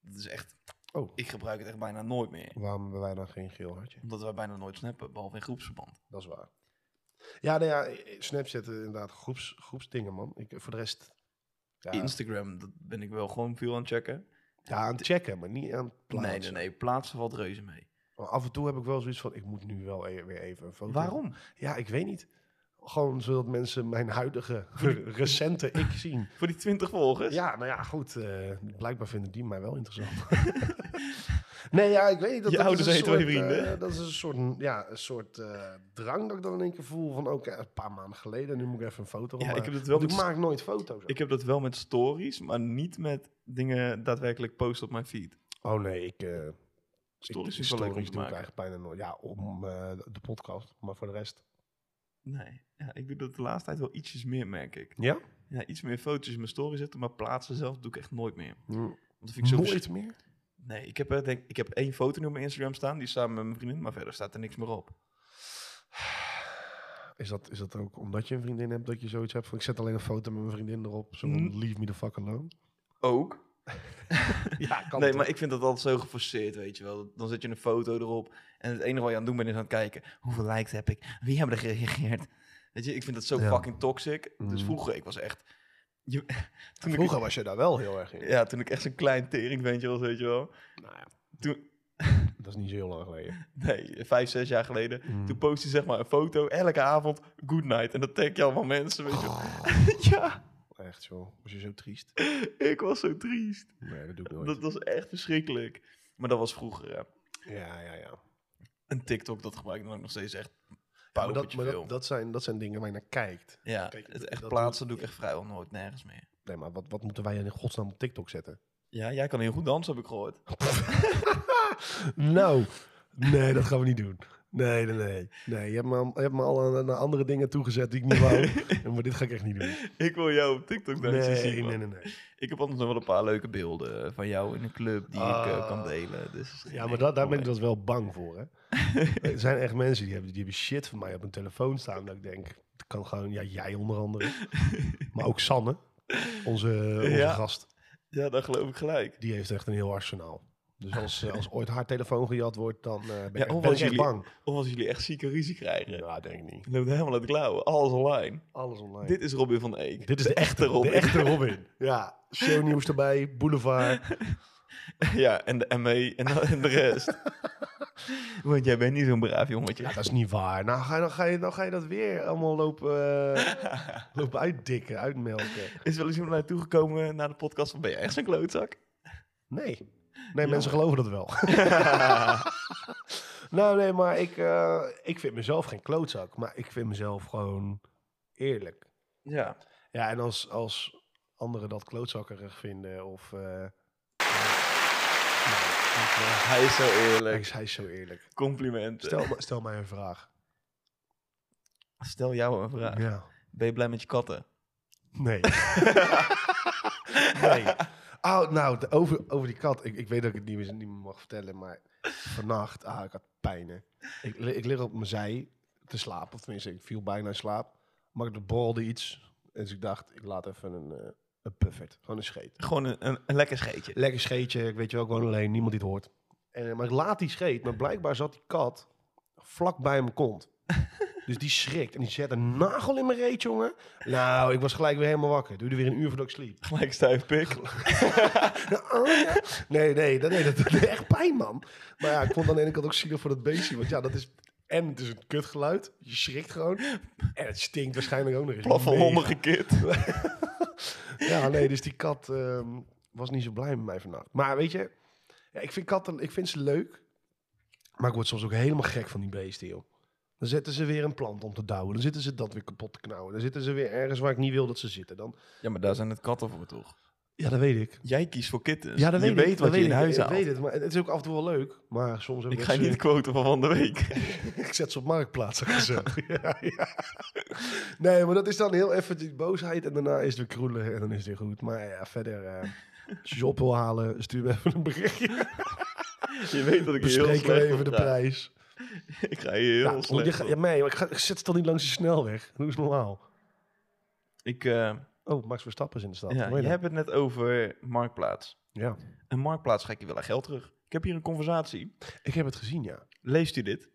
Dat is echt, Oh, ik gebruik het echt bijna nooit meer. waarom hebben wij nou geen geel hartje? Omdat wij bijna nooit snappen, behalve in groepsverband. Dat is waar. Ja, nou ja, Snapchat eh, inderdaad, groeps, groepsdingen man. Ik, eh, voor de rest... Ja, Instagram, dat ben ik wel gewoon veel aan het checken. ja, aan het checken, maar niet aan het plaatsen. Nee, nee, nee, plaatsen valt reuze mee. Maar af en toe heb ik wel zoiets van, ik moet nu wel e- weer even een foto... Waarom? Ja, ik weet niet. Gewoon zodat mensen mijn huidige, recente ik zien. Voor die 20 volgers? Ja, nou ja, goed. eh, blijkbaar vinden die mij wel interessant. nee, ja, ik weet niet. Dat, Je dat ouders is een zijn je twee soort, vrienden. eh, dat is een soort, ja, een soort eh, drang dat ik dan in één keer voel van... Oké, een paar maanden geleden, nu moet ik even een foto Ja, maken. ik heb het wel Want ik met- maak nooit foto's. Ik heb dat wel met stories, maar niet met dingen daadwerkelijk posten op mijn feed. Oh nee, ik... eh, ik- Stories die is wel leuk om te stories doe ik maken. eigenlijk bijna nooit. Ja, om eh, de podcast, maar voor de rest. Nee, ja, ik doe dat de laatste tijd wel ietsjes meer, merk ik. Ja? Ja, iets meer foto's in mijn story zetten, maar plaatsen zelf doe ik echt nooit meer. Want dat vind ik zo vers- mm, Nooit meer? Nee, ik heb, eh, denk, ik heb één foto nu op mijn Instagram staan, die is samen met mijn vriendin, maar verder staat er niks meer op. Is dat, is dat ook omdat je een vriendin hebt dat je zoiets hebt van... Ik zet alleen een foto met mijn vriendin erop, zo van, Mm. leave me the fuck alone? Ook? Ja, kan nee, toch? maar ik vind dat altijd zo geforceerd, weet je wel. Dan zet je een foto erop en het enige wat je aan het doen bent is aan het kijken. Hoeveel likes heb ik? Wie hebben er gereageerd? Weet je, ik vind dat zo Ja. fucking toxic. Dus Mhm. vroeger, ik was echt... Je, toen ik- Vroeger was je daar wel heel erg in. ja, toen ik echt zo'n klein teringventje was, weet je wel. Nou ja, Toen, dat is niet zo heel lang geleden. nee, vijf, zes jaar geleden. Mm. Toen post je zeg maar een foto elke avond, good night. En dat tag je allemaal mensen, weet je Oh. wel. ja, Echt zo. Was je zo triest? ik was zo triest. Nee, dat doe ik nooit. Dat was echt verschrikkelijk. Maar dat was vroeger, hè. Ja, ja, ja. Een TikTok, dat gebruik ik dan ook nog steeds echt Maar, dat, paupertje maar veel. dat, dat, zijn, dat zijn dingen waar je naar kijkt. ja, kijk, het dat- echt dat plaatsen doe ik echt vrijwel nooit nergens meer. Nee, maar wat, wat moeten wij in godsnaam op TikTok zetten? Ja, jij kan heel goed dansen, heb ik gehoord. Nou, nee, dat gaan we niet doen. Nee, nee, nee. nee je, hebt me, al- je hebt me al aan- naar andere dingen toegezet die ik niet wou. maar dit ga ik echt niet doen. Ik wil jou op TikTok Nee, dansen zien, nee, man. nee, nee. Ik heb anders nog wel een paar leuke beelden eh, van jou in een club die ik eh, Ah. kan delen. Dus Ja, maar dat, daar ben ik dus wel bang voor, hè. Er zijn echt mensen die hebben, die hebben shit van mij op hun telefoon staan. Dat ik denk, dat kan gewoon, ja, jij onder andere. Maar ook Sanne, onze, onze Ja. gast. Ja, dat geloof ik gelijk. Die heeft echt een heel arsenaal. Dus als, eh, als ooit haar telefoon gejat wordt, dan eh, ben, ik, of ben als ik echt jullie- bang. Of als jullie echt zieke ruzie krijgen. Ja, denk ik niet. Je loopt helemaal uit de klauwen. Alles online. Alles online. Dit, Dit is Robin van Eek. is de, echte Robin. De echte Robin. ja, shownieuws erbij, boulevard. ja, en de ME en, dan- en de rest. Want jij bent niet zo'n braaf jongetje. Ja, dat is niet waar. Nou ga je, nou ga je, nou ga je dat weer allemaal lopen, eh, lopen uitdikken, uitmelken. Is wel eens iemand naartoe gekomen eh, naar de podcast van ben je echt zo'n klootzak? Nee. Nee, mensen geloven dat wel. nou, nee, maar ik, eh, ik vind mezelf geen klootzak. Maar ik vind mezelf gewoon eerlijk. Ja. Ja, en als, als anderen dat klootzakkerig vinden of... eh, nou, ik, Hij is zo eh, hij eerlijk. is- hij is zo eerlijk. Complimenten. Stel, Stel, me- stel mij een vraag. jou een vraag. Ja. Ben je blij met je katten? Nee. nee. Oh, nou, de- over, over die kat. Ik, ik weet dat ik het niet meer, niet meer mag vertellen, maar vannacht, ah, ik had pijn. hè. Ik, li- ik lig op mijn zij te slapen, of tenminste, ik viel bijna in slaap. Maar er borrelde iets. Dus ik dacht, ik laat even een, eh, Een puffert. Gewoon een scheet. Gewoon een, een, een lekker scheetje. Lekker scheetje, ik weet je wel, gewoon alleen, niemand die het hoort. En, eh, maar ik laat die scheet, maar blijkbaar zat die kat vlak bij mijn kont. dus die schrikt en die zet een nagel in mijn reet, jongen. Nou, ik was gelijk weer helemaal wakker. Duurde weer een uur voordat ik sliep. Gelijk stuifpik. Oh, ja. Nee, nee, dat, nee, dat doet echt pijn, man. Maar ja, ik vond aan de ene kant ook zielig voor dat beestje. Want ja, dat is... En het is een kutgeluid. Je schrikt gewoon. En het stinkt waarschijnlijk ook nog eens. Plaffe Mega. honden gekit. Ja, nee, dus die kat ehm, was niet zo blij met mij vannacht. Maar weet je, ja, ik vind katten, ik vind ze leuk. Maar ik word soms ook helemaal gek van die beesten, joh. Dan zetten ze weer een plant om te douwen. Dan zitten ze dat weer kapot te knauwen. Dan zitten ze weer ergens waar ik niet wil dat ze zitten. Dan, Ja, maar daar zijn het katten voor, toch? ja, dat weet ik. Jij kiest voor kittens. Ja, dat Dus je weet weet ik. wat dat je weet in ik. huis Ik haalt. weet het, maar het is ook af en toe wel leuk. Maar soms heb Ik ook ga je zo'n- niet quoten van van de week. Ik zet ze op marktplaats, had ik gezegd. ja, ja. Nee, maar dat is dan heel even die boosheid. En daarna is het weer kroelen en dan is het weer goed. Maar ja, verder... eh, als je ze op wil halen, stuur me even een berichtje. Je weet dat ik je heel Bespreek slecht even op de ga. prijs. Ik ga je heel Ja, slecht je ga- op. ja, nee, maar ik, ga, ik zet ze dan niet langs de snelweg. Doe eens normaal. Ik, eh, Oh, Max Verstappen is in de stad. ja, Hoor je je dat? hebt het net over Marktplaats. ja. En Marktplaats ga ik je wel aan geld terug. Ik heb hier een conversatie. Ik heb het gezien, ja. Leest u dit?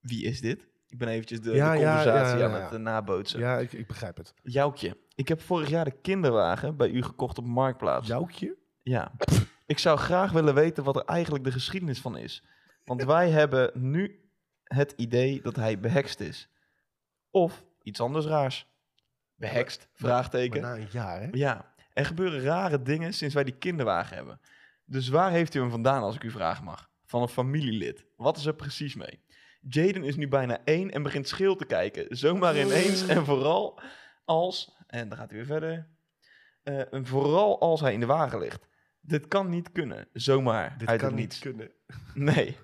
Wie is dit? Ik ben eventjes de, Ja, de ja, ja, conversatie ja, aan ja. het eh, nabootsen. Ja, ik, ik begrijp het. Joukje, ik heb vorig jaar de kinderwagen bij u gekocht op Marktplaats. Joukje? Ja. Ik zou graag willen weten wat er eigenlijk de geschiedenis van is. Want wij hebben nu het idee dat hij behekst is. Of iets anders raars. Behekst? Maar Vraagteken. na een jaar, hè? Ja, er gebeuren rare dingen sinds wij die kinderwagen hebben. Dus waar heeft u hem vandaan, als ik u vragen mag? Van een familielid. Wat is er precies mee? Jaden is nu bijna één en begint scheel te kijken. Zomaar ineens en vooral als... En dan gaat hij weer verder. Eh, en vooral als hij in de wagen ligt. Dit kan niet kunnen, zomaar Dit uit kan het niet niets. kunnen. Nee,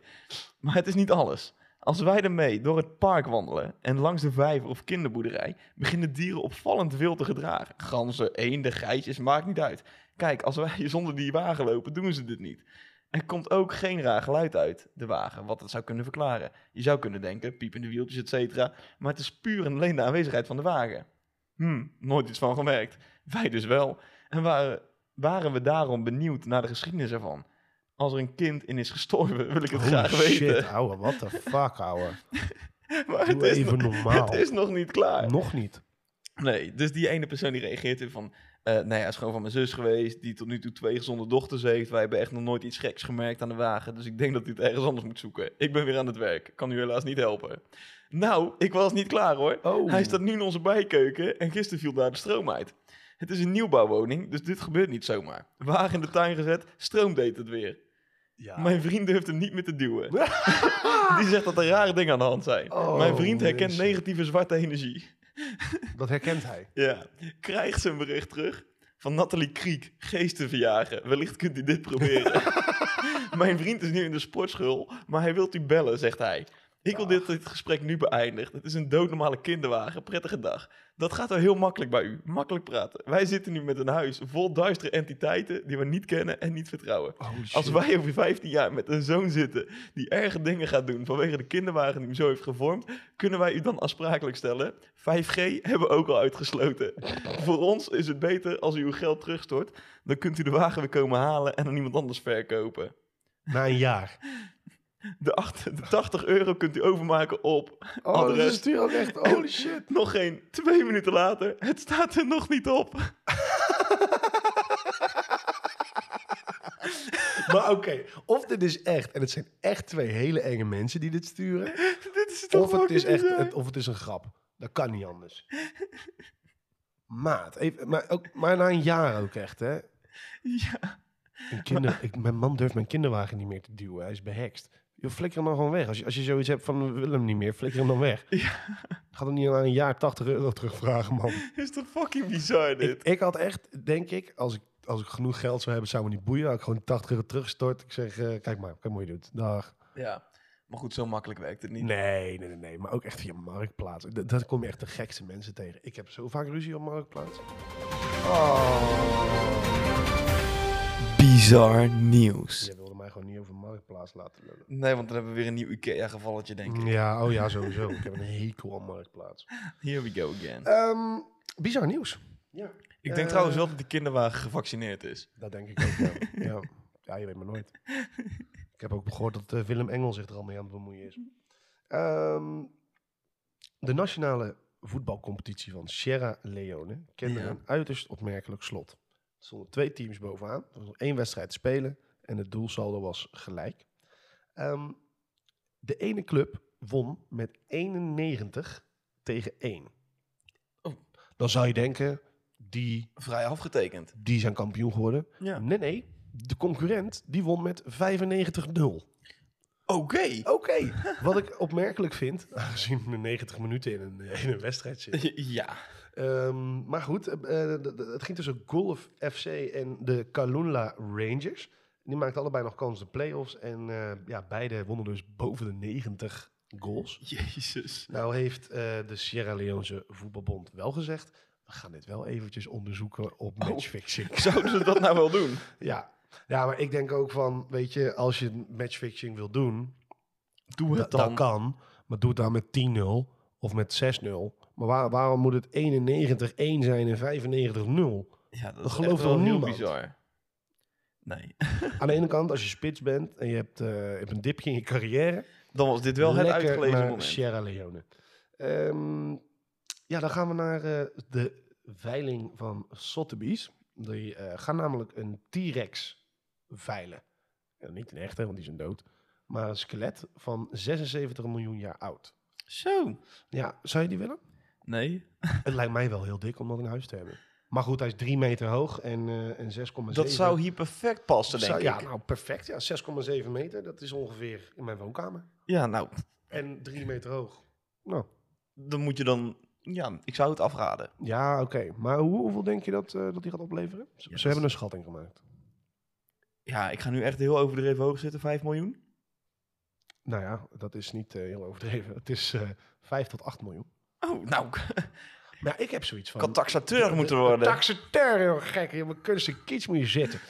maar het is niet alles. Als wij ermee door het park wandelen en langs de vijver of kinderboerderij, beginnen dieren opvallend wild te gedragen. Ganzen, eenden, geitjes, maakt niet uit. Kijk, als wij zonder die wagen lopen, doen ze dit niet. Er komt ook geen raar geluid uit de wagen, wat het zou kunnen verklaren. Je zou kunnen denken, piepende wieltjes, et cetera, maar het is puur en alleen de aanwezigheid van de wagen. Hm, nooit iets van gemerkt. Wij dus wel. En waren, waren we daarom benieuwd naar de geschiedenis ervan? Als er een kind in is gestorven, wil ik het Holy graag Oh, shit, weten. ouwe. What the fuck, ouwe. Maar het Doe is, even nog, normaal. het is nog niet klaar. Nog niet. Nee, dus die ene persoon die reageert weer van... eh nou ja, is gewoon van mijn zus geweest, die tot nu toe twee gezonde dochters heeft. Wij hebben echt nog nooit iets geks gemerkt aan de wagen. Dus ik denk dat hij het ergens anders moet zoeken. Ik ben weer aan het werk. Kan u helaas niet helpen. Nou, ik was niet klaar hoor. Oh. Hij staat nu in onze bijkeuken en gisteren viel daar de stroom uit. Het is een nieuwbouwwoning, dus dit gebeurt niet zomaar. Wagen in de tuin gezet, stroom deed het weer. Ja. Mijn vriend durft hem niet meer te duwen. Die zegt dat er rare dingen aan de hand zijn. Oh, Mijn vriend herkent mensen. negatieve zwarte energie. Dat herkent hij. Ja, krijgt zijn bericht terug van Nathalie Kriek, geesten verjagen. Wellicht kunt u dit proberen. Mijn vriend is nu in de sportschool, maar hij wilt u bellen, zegt hij. Ik wil dit, dit gesprek nu beëindigd. Het is een doodnormale kinderwagen. Prettige dag. Dat gaat wel heel makkelijk bij u. Makkelijk praten. Wij zitten nu met een huis vol duistere entiteiten die we niet kennen en niet vertrouwen. Holy Oh, shit. Als wij over 15 jaar met een zoon zitten die erge dingen gaat doen vanwege de kinderwagen die hem zo heeft gevormd, kunnen wij u dan aansprakelijk stellen. 5G hebben we ook al uitgesloten. Voor ons is het beter als u uw geld terugstort. Dan kunt u de wagen weer komen halen en aan iemand anders verkopen. Na een jaar. De, acht- de 80 euro kunt u overmaken op. Oh, dat Adres. is natuurlijk ook echt... Holy shit. Nog geen twee minuten later, het staat er nog niet op. Maar oké, of dit is echt, en het zijn echt twee hele enge mensen die dit sturen. Dit is toch Of het is, fucking echt, bizar? het- of het is een grap. Dat kan niet anders. Maat, even, maar, ook, maar na een jaar ook echt, hè? Ja, Een kinder, ik, mijn man durft mijn kinderwagen niet meer te duwen. Hij is behekst. Je flikker hem dan gewoon weg. Als je, als je zoiets hebt van, we willen hem niet meer, flikker hem dan weg. Ga dan niet na een jaar 80 euro terugvragen, man. is toch fucking bizar dit? Ik, ik had echt, denk ik, als ik, als ik genoeg geld zou hebben, zou me niet boeien. Had ik gewoon 80 euro teruggestort. Ik zeg, eh, kijk maar, kijk maar hoe je doet. Dag. Ja, maar goed, zo makkelijk werkt het niet. Nee, nee, nee, nee. Maar ook echt via Marktplaats. Da- Daar kom je echt de gekste mensen tegen. Ik heb zo vaak ruzie op Marktplaats. Oh. Bizar nieuws. Jij wilde mij gewoon niet over Marktplaats laten lullen. Nee, want dan hebben we weer een nieuw IKEA-gevalletje, denk ik. Ja, oh ja, sowieso. ik heb een hekel aan Marktplaats. Here we go again. Ehm, bizar nieuws. Ja. Ik Ik denk Eh. trouwens wel dat die kinderwagen gevaccineerd is. Dat denk ik ook, ja. ja. Ja, je weet maar nooit. Ik heb ook gehoord dat eh, Willem Engel zich er al mee aan het bemoeien is. Ehm, de nationale voetbalcompetitie van Sierra Leone kende Ja. een uiterst opmerkelijk slot. Er stonden twee teams bovenaan. Er was nog één wedstrijd te spelen en het doelsaldo was gelijk. Ehm, de ene club won met 91 tegen 1. Oh. Dan zou je denken, die, Vrij afgetekend. die zijn kampioen geworden. Ja. Nou, Nee, nee. De concurrent die won met 95-0. Oké. Oké. Wat ik opmerkelijk vind, aangezien we 90 minuten in een, in een wedstrijd zitten. Ja. Ehm, maar goed, eh, eh, d- d- het ging tussen Golf FC en de Kalunla Rangers. Die maakten allebei nog kans de play-offs. En eh, ja, beide wonnen dus boven de 90 goals. Jezus. Nou heeft eh, de Sierra Leonese voetbalbond wel gezegd... we gaan dit wel eventjes onderzoeken op matchfixing. Zouden ze dat nou wel doen? Ja. ja, maar ik denk ook van, weet je, als je matchfixing wil doen, Doe dat, dat kan. Maar doe het dan met 10-0 of met 6-0. Maar waar- waarom moet het 91-1 zijn en 95-0? Ja, dat, Dat is gelooft geloof wel wel heel niemand. bizar. Nee. Aan de ene kant, als je spits bent en je hebt, eh, je hebt een dipje in je carrière, Dan was dit wel het lekker uitgelezen naar moment. Sierra Leone. Ehm, ja, dan gaan we naar eh, de veiling van Sotheby's. Die eh, gaan namelijk een T-Rex veilen. Ja, niet een echte, want die zijn dood. Maar een skelet van 76 miljoen jaar oud. Zo. Ja, zou je die willen? Nee. Het lijkt mij wel heel dik om dat in huis te hebben. Maar goed, hij is 3 meter hoog en, eh en 6,7. Dat zou hier perfect passen, denk Zou- ik. Ja, nou perfect. Ja, 6,7 meter. Dat is ongeveer in mijn woonkamer. Ja, nou, En 3 meter hoog. Nou, dan moet je dan... Ja, ik zou het afraden. Ja, oké. Maar hoe, hoeveel denk je dat, eh, dat die gaat opleveren? Ze, Ja, ze dat- hebben een schatting gemaakt. Ja, ik ga nu echt heel overdreven hoog zitten. 5 miljoen? Nou ja, dat is niet eh, heel overdreven. Het is eh 5 tot 8 miljoen. Oh, nou, ik Maar ja, ik heb zoiets van... had taxateur moeten Een worden. Taxateur, heel gek. Je moet kunst kiets moet je zetten.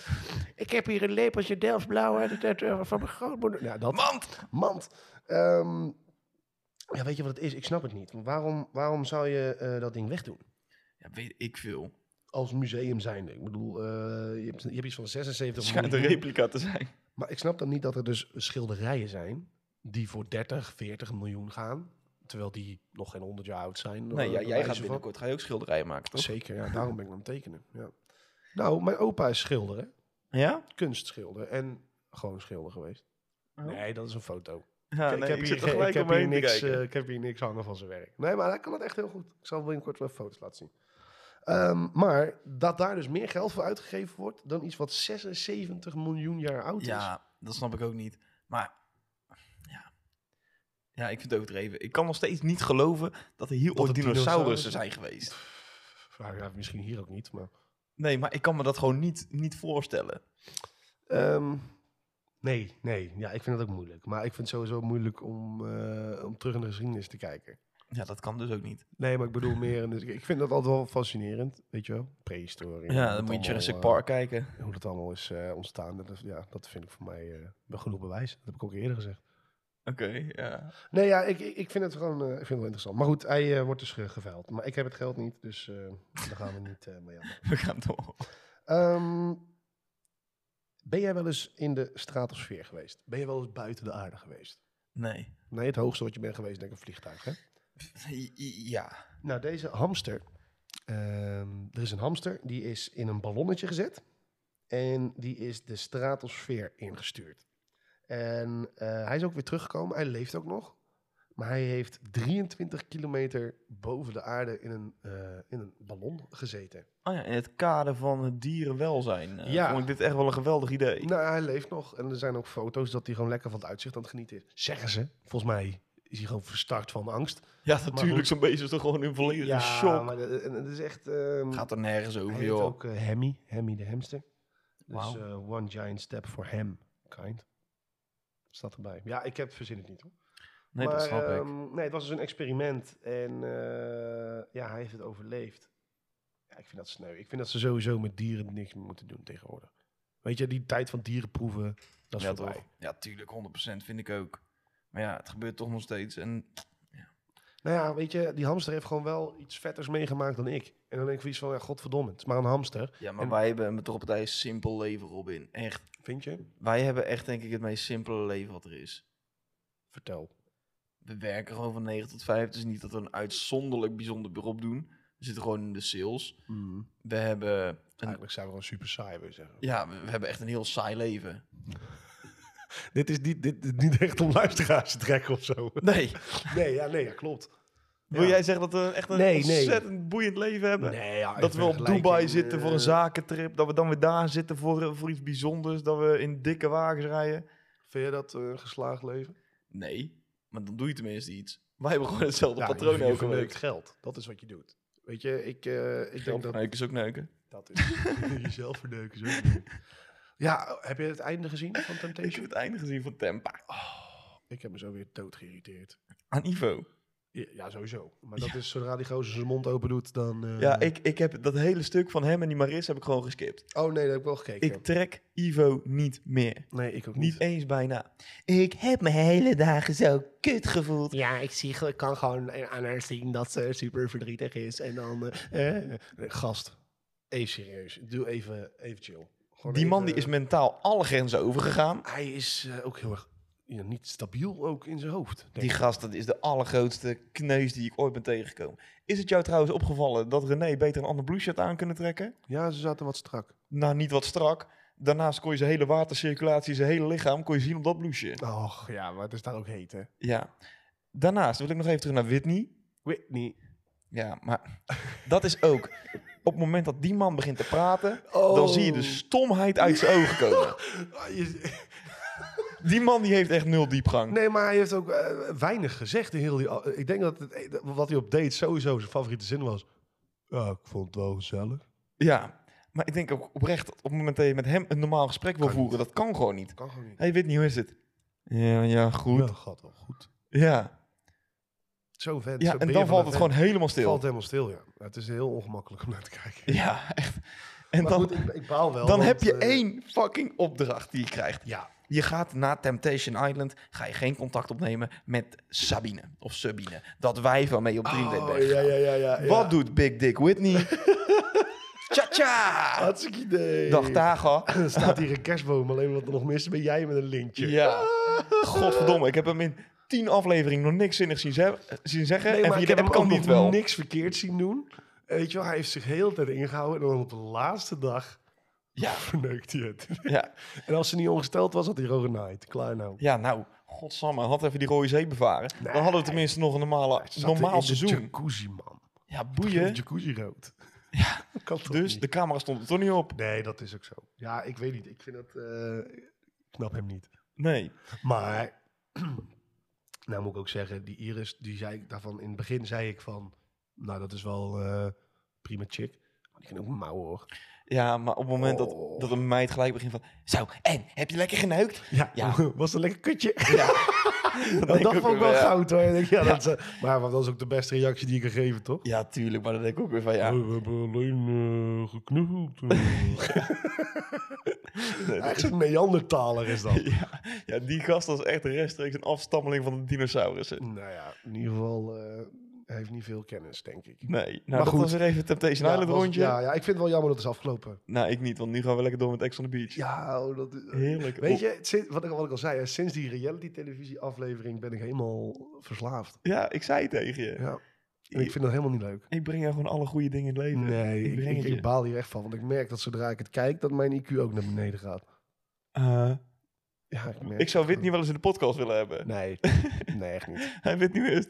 Ik heb hier een lepeltje Delftsblauw uit het, eh, van mijn grootmoeder. Ja, dat... Mand! Mand. Ehm, ja, weet je wat het is? Ik snap het niet. Want Waarom, waarom zou je eh, dat ding wegdoen? Ja, weet ik veel. Als museum zijnde. Ik bedoel, eh, je, hebt, je hebt iets van 76 Het schijnt een miljoen. replica te zijn. Maar ik snap dan niet dat er dus schilderijen zijn die voor 30, 40 miljoen gaan. Terwijl die nog geen 100 jaar oud zijn. Nee, Eh, ja, bij jij wijze gaat van- binnenkort ga je ook schilderijen maken, toch? Zeker, ja, daarom ben ik aan het tekenen. Ja. Nou, mijn opa is schilder, hè? Ja? kunstschilder en gewoon schilder geweest. Nee, dat is een foto. ja ik, nee, heb hier, zit er geen- ik, heb omheen hier te niks, kijken. eh, ik heb hier niks hangen van zijn werk. Nee, maar hij kan het echt heel goed. Ik zal binnenkort wel foto's laten zien. Ehm, maar dat daar dus meer geld voor uitgegeven wordt dan iets wat 76 miljoen jaar oud is. Ja, dat snap ik ook niet. Maar ja, ja ik vind het overdreven. Ik kan nog steeds niet geloven dat er hier Dat ooit er dinosaurussen dinosaurussen- zijn geweest. Nou ja, misschien hier ook niet, maar... Nee, maar ik kan me dat gewoon niet, niet voorstellen. Ehm, nee, nee. Ja, ik vind dat ook moeilijk. Maar ik vind het sowieso moeilijk om, eh, om terug in de geschiedenis te kijken. Ja, dat kan dus ook niet. Nee, maar ik bedoel meer... in de- ik vind dat altijd wel fascinerend, weet je wel? Prehistorie. Ja, hoe dat dan moet je allemaal, Jurassic eh, Park kijken. hoe dat allemaal is eh, ontstaan. Dat, is- ja, dat vind ik voor mij eh, wel genoeg bewijs. Dat heb ik ook eerder gezegd. Oké, ja. Nee, ja, ik, ik ik vind het gewoon eh, ik vind het wel interessant. Maar goed, hij eh, wordt dus eh, geveild. Maar ik heb het geld niet, dus eh, daar gaan we niet eh mee aan. We gaan door. Ehm, ben jij wel eens in de stratosfeer geweest? Ben je wel eens buiten de aarde geweest? Nee. Nee, het hoogste wat je bent geweest, denk ik, een vliegtuig. Hè? Ja. Nou, deze hamster. ehm, er is een hamster, die is in een ballonnetje gezet. En die is de stratosfeer ingestuurd. En eh, hij is ook weer teruggekomen. Hij leeft ook nog. Maar hij heeft 23 kilometer boven de aarde in een, eh, in een ballon gezeten. Oh ja, in het kader van het dierenwelzijn eh, Ja. vond ik dit echt wel een geweldig idee. Nou, hij leeft nog. En er zijn ook foto's dat hij gewoon lekker van het uitzicht aan het genieten is. Zeggen ze. Volgens mij is hij gewoon verstart van angst. ja, goed. natuurlijk, zo'n beest is toch gewoon in volledige shock. maar de- en het is echt... ehm, Gaat er nergens Hij over, heet joh. ook eh, Hemmy, Hemmy de hamster. Dus Wauw. eh, one giant step for hem, kind. Staat erbij. Ja, ik heb verzin het niet hoor. Nee, dat Maar, snap ik. ehm, Nee, het was dus een experiment en eh, ja, hij heeft het overleefd. Ja, ik vind dat sneu. Ik vind dat ze sowieso met dieren niks meer moeten doen tegenwoordig. Weet je, die tijd van dierenproeven, dat is ja, voorbij. toch? Ja, tuurlijk, 100% vind ik ook. Maar ja, het gebeurt toch nog steeds. En Nou ja, weet je, die hamster heeft gewoon wel iets vetters meegemaakt dan ik. En dan denk ik iets van, ja, godverdomme, het is maar een hamster. Ja, maar En- wij hebben een metropoliteit simpel leven, Robin. Echt. Vind je? Wij hebben echt, denk ik, het meest simpele leven wat er is. Vertel. We werken gewoon van 9 tot 5. Het is niet dat we een uitzonderlijk bijzonder beroep doen. We zitten gewoon in de sales. Mm. We hebben een, Eigenlijk zijn we gewoon super saai, wil je zeggen. ja, we we hebben echt een heel saai leven. Dit is niet, dit, is niet echt om luisteraars te trekken of zo. Nee. Nee, ja, nee, ja, klopt. Wil jij zeggen dat we echt een Nee, nee. ontzettend boeiend leven hebben? Nee, ja, in Dat we op Dubai vergelijking, zitten voor een eh, zakentrip. Dat we dan weer daar zitten voor, eh, voor iets bijzonders. Dat we in dikke wagens rijden. Vind je dat eh, een geslaagd leven? Nee, maar dan doe je tenminste iets. Wij hebben gewoon hetzelfde Ja, patroon je- je elke verneukt week. geld. Dat is wat je doet. Weet je, ik, eh, ik denk dat Neuken is ook neuken. dat is. Jezelf verneuken. is ook niet goed. Ja, heb je het einde gezien van Ik heb Temptation? het einde gezien van Tempa. Ik heb me zo weer dood geïrriteerd. Aan Ivo. Ja, ja, sowieso. Maar dat is zodra die gozer zijn mond open doet, dan... eh, Ja, ik, ik heb dat hele stuk van hem en die Maris heb ik gewoon geskipt. Oh nee, dat heb ik wel gekeken. Ik trek Ivo niet meer. Nee, ik ook niet. Niet eens bijna. Ik heb me hele dagen zo kut gevoeld. Ja, ik, zie, ik kan gewoon aan haar zien dat ze super verdrietig is. En dan... eh, gast, even serieus. Doe even, even chill. Gewoon Die man die even- is mentaal alle grenzen overgegaan. Hij is eh, ook heel erg ja, niet stabiel ook in zijn hoofd. denk Die ik. gast, dat is de allergrootste kneus die ik ooit ben tegekomen. Is het jou trouwens opgevallen dat René beter een ander blouseje had aan kunnen trekken? Ja, ze zaten wat strak. Nou, niet wat strak. Daarnaast kon je zijn hele watercirculatie, zijn hele lichaam kon je zien op dat blouseje. Och, ja, maar het is daar ook heet, hè? Ja. Daarnaast wil ik nog even terug naar Whitney. Whitney. Ja, maar dat is ook... Op het moment dat die man begint te praten, Oh. dan zie je de dus- stomheid uit zijn ogen komen. Ah, je- Die man die heeft echt nul diepgang. Nee, maar hij heeft ook eh, weinig gezegd in heel die... al- Ik denk dat het, wat hij op date sowieso zijn favoriete zin was. Ja, ik vond het wel gezellig. Ja, maar ik denk ook oprecht dat op het moment dat je met hem een normaal gesprek wil Kan voeren, dat kan gewoon niet. Kan gewoon niet. Hey Whitney, hoe is het? Ja, ja, goed. Ja, Ja. gaat wel goed. Ja, Zo vet. zo ben en je dan van valt een het vent. gewoon helemaal Het stil. valt helemaal stil, ja. Ja, Het is heel ongemakkelijk om naar te kijken. Ja, echt. En Maar dan, goed, ik, ik baal wel. dan want, heb je eh, één fucking opdracht die je krijgt. Ja, Je gaat na Temptation Island, ga je geen contact opnemen met Sabine of Subine. Dat wij van mee op Oh, Dreamdate ja, weg. ja, ja, ja, ja. Wat doet Big Dick Whitney? Tja-tja! Hartstikke idee. Dag Taga. Er staat hier een kerstboom, alleen wat er nog mis is, ben jij met een lintje. Ja. Godverdomme, ik heb hem in tien afleveringen nog niks zinnigs zien, ze- zien zeggen. Nee, en maar via ik de heb app hem kan ook niet nog wel. niks verkeerd zien doen. Eh, Weet je wel, hij heeft zich heel de tijd ingehouden en dan op de laatste dag Ja. verneukt hij het. Ja. en als ze niet ongesteld was, had hij gewoon genaaid. Klaar nou. ja, nou, godsamme, had even die rode zee bevaren. Dan hadden we tenminste nog een normale, Hij zat in normaal de seizoen. jacuzzi, man. Ja, De boeien. jacuzzi rood. Ja, kan toch Dus niet? de camera stond er toch niet op. Nee, dat is ook zo. Ja, ik weet niet. Ik vind dat... eh, ik snap hem niet. Nee. Maar, nou moet ik ook zeggen, die Iris, die zei ik daarvan in het begin, zei ik van, nou dat is wel eh, prima chick. Maar die kan ook mouwen hoor. Ja, maar op het moment Oh. dat, dat een meid gelijk begint van... Zo, en, heb je lekker geneukt? Ja, Ja. was een lekker kutje. Ja. Nou, denk dat ik vond ook ik wel wel, ja. goud hoor. Ik Denk, ja, Dat is, eh, maar dat was ook de beste reactie die ik kan geven, toch? ja, tuurlijk, maar dan denk ik ook weer van... Ja, We hebben alleen eh, geknuffeld. eh. nee, dat- Echt zo'n Neandertaler is dat. ja, ja, die gast was echt rechtstreeks een afstammeling van de dinosaurussen. nou ja, in ieder geval, eh, hij heeft niet veel kennis, denk ik. Nee, nou, Maar dat goed. was weer even Temptation Ja, Island was- rondje. Ja, ja, ik vind het wel jammer dat het is afgelopen. Nou, ik niet, want nu gaan we lekker door met Ex on the Beach. Ja, oh, dat is... Heerlijk. Weet Oh, je, sinds- wat ik, wat ik al zei, hè, sinds die reality televisie aflevering ben ik helemaal verslaafd. Ja, ik zei het tegen je. Ja. En ik vind dat helemaal niet leuk. Ik breng jou gewoon alle goede dingen in het leven. Nee, ik ik, breng ik, het je. ik baal hier echt van, want ik merk dat zodra ik het kijk, dat mijn IQ ook naar beneden gaat. Eh, Ja, ik merk ik zou het Whitney wel eens in de podcast willen hebben. Nee, nee, echt niet. Hij Whitney is...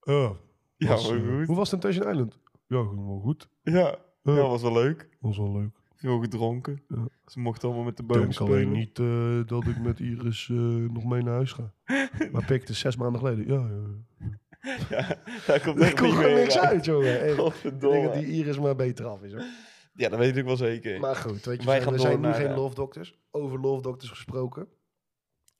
Oh, Ja, maar goed. Hoe was Temptation Island? Ja, ging wel goed. Ja, Eh. ja, was wel leuk. Was wel leuk. Veel gedronken. Ja. Ze mochten allemaal met de Ik boom denk alleen spelen. niet eh, dat ik met Iris eh, nog mee naar huis ga. Maar pikte zes maanden geleden. Ja, ja. Ja, daar komt echt Er komt niet gewoon meer niks uit. uit, jongen. Echt. Ik denk dat Godverdomme. die Iris maar beter af is, hoor. Ja, dat weet ik wel zeker. Maar goed, weet je, Wij we gaan zijn, we zijn door nu naar, geen eh, love doctors. Over love doctors gesproken.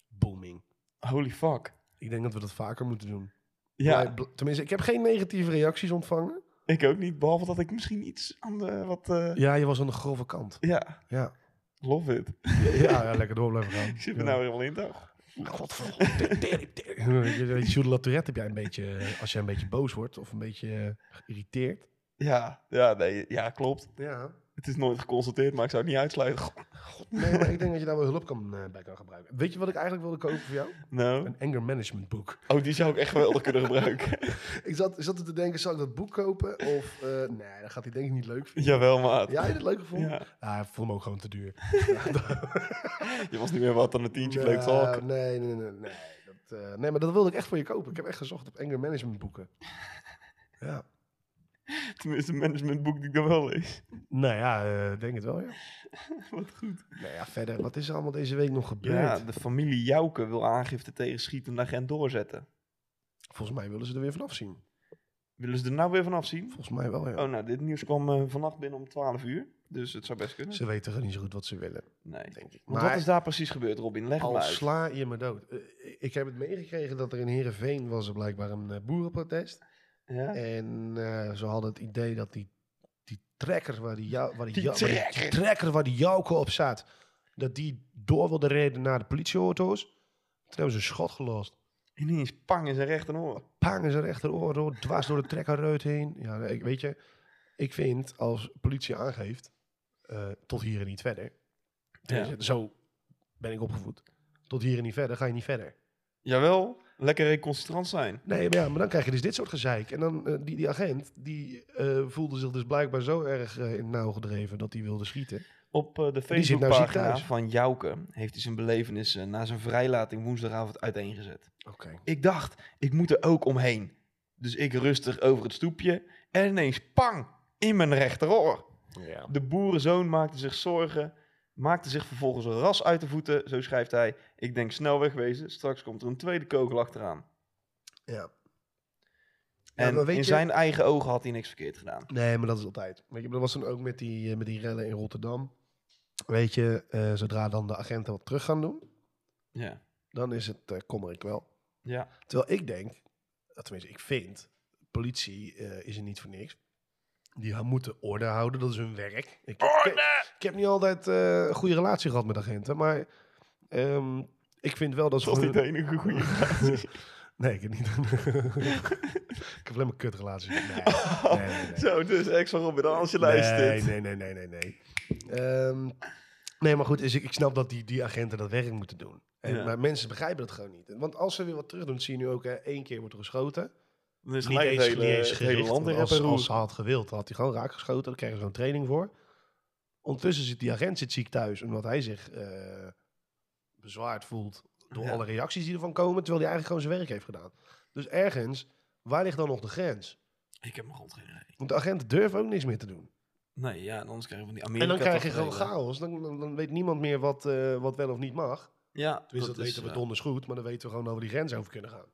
Booming. Holy fuck. Ik denk dat we dat vaker moeten doen. Ja, Blij- bl- tenminste, ik heb geen negatieve reacties ontvangen. ik ook niet. Behalve dat ik misschien iets aan de... Wat, eh, Ja, je was aan de grove kant. ja, Ja, love it. ja, ja lekker door blijven gaan. Ik zit er Ja. nou helemaal in, toch? Godverdomme, tering, tering. Jules Latourette heb jij een beetje, als jij een beetje boos wordt of een beetje eh, geïrriteerd. Ja, ja, nee, ja, klopt. Ja. Het is nooit geconstateerd, maar ik zou het niet uitsluiten. God, Nee, maar ik denk dat je daar wel hulp kan, eh, bij kan gebruiken. Weet je wat ik eigenlijk wilde kopen voor jou? Nou, Een anger management boek. oh, die zou ik echt geweldig kunnen gebruiken. Ik zat, ik zat er te denken, zal ik dat boek kopen? Of, eh, nee, dat gaat hij denk ik niet leuk vinden. Jawel, maat. Ja, heb je het leuk gevonden? Ja. Ah, hij vond hem ook gewoon te duur. Je was niet meer wat dan een tientje Nou, leuk te hakken. Nee, nee, nee. Nee. Dat, eh, nee, maar dat wilde ik echt voor je kopen. Ik heb echt gezocht op anger management boeken. Ja. Tenminste, een managementboek die ik dan wel lees. Nou ja, eh, denk het wel, ja. Wat goed. Nou ja, verder, wat is er allemaal deze week nog gebeurd? Ja, de familie Jouke wil aangifte tegen schietende agent doorzetten. Volgens mij willen ze er weer vanaf zien. Willen ze er nou weer vanaf zien? Volgens mij wel, ja. Oh, nou, dit nieuws kwam eh, vannacht binnen om 12 uur. Dus het zou best kunnen. Ze weten gewoon niet zo goed wat ze willen, Nee. denk ik. Maar wat is daar precies gebeurd, Robin? Leg al maar uit. sla je me dood. Eh, ik heb het meegekregen dat er in Heerenveen was er blijkbaar een eh, boerenprotest. Ja? En eh, ze hadden het idee dat die, die trekker waar die, jou, waar die, Die jou- waar die- die trekker. trekker waar die jouwke op zat, dat die door wilde reden naar de politieauto's. Toen hebben ze een schot gelost. En ineens pang in zijn rechteroor. Pang in zijn rechteroor, door, dwars door de trekkerreut heen. Ja, nee, ik, weet je, ik vind als politie aangeeft, eh, tot hier en niet verder. Ja. Zo ben ik opgevoed. Tot hier en niet verder, ga je niet verder. Jawel, lekker reconciliant zijn. Nee, maar, ja, maar dan krijg je dus dit soort gezeik. En dan, eh, die, die agent, die eh, voelde zich dus blijkbaar zo erg eh, in het nauw gedreven dat hij wilde schieten. Op eh, de Die zit nou ziek Facebookpagina thuis. van Jouke heeft hij zijn belevenis eh, na zijn vrijlating woensdagavond uiteengezet. Oké. Ik dacht, ik moet er ook omheen. Dus ik rustig over het stoepje en ineens pang in mijn rechteroor. Ja. De boerenzoon maakte zich zorgen, maakte zich vervolgens een ras uit de voeten, zo schrijft hij. Ik denk snel wegwezen, straks komt er een tweede kogel achteraan. ja. En maar weet in je- zijn eigen ogen had hij niks verkeerd gedaan. Nee, maar dat is altijd. Weet je, maar dat was dan ook met die, eh, met die rellen in Rotterdam. Weet je, eh, zodra dan de agenten wat terug gaan doen, Ja. dan is het eh kommer ik wel. Ja. Terwijl ik denk, eh, tenminste ik vind, politie eh, is er niet voor niks. Die ha- moeten orde houden, dat is hun werk. Ik, Ik, ik, heb niet altijd eh, een goede relatie gehad met agenten, maar ehm, ik vind wel dat ze... Dat is voor niet de enige goede relatie. Nee, ik heb niet. ik heb alleen maar kutrelaties. Nee, nee, nee, nee. Zo, dus ex van Robin, als je Nee, luistert. nee, nee, nee, nee, nee. Ehm, nee, maar goed, is, ik ik snap dat die, die agenten dat werk moeten doen. En, Ja. Maar mensen begrijpen dat gewoon niet. Want als ze weer wat terug doen, zie je nu ook, hè, één keer wordt er geschoten. Dan is Niet gelijk eens, het hele, niet eens het hele gericht, land want in rep als, en roer. als ze had gewild, had hij gewoon raak geschoten. Daar kregen ze zo'n training voor. Ondertussen zit die agent zit ziek thuis, omdat hij zich eh, bezwaard voelt door Ja. alle reacties die ervan komen, terwijl hij eigenlijk gewoon zijn werk heeft gedaan. Dus ergens, waar ligt dan nog de grens? Ik heb mijn god geen idee. Want de agenten durven ook niks meer te doen. Nee, ja, en anders krijgen we die En Amerika. dan krijg je gewoon tafereel. chaos. Dan, dan, dan weet niemand meer wat, eh, wat wel of niet mag. Ja, Tenminste, dat, is, weten we eh, donders goed, maar dan weten we gewoon over die grens over kunnen gaan.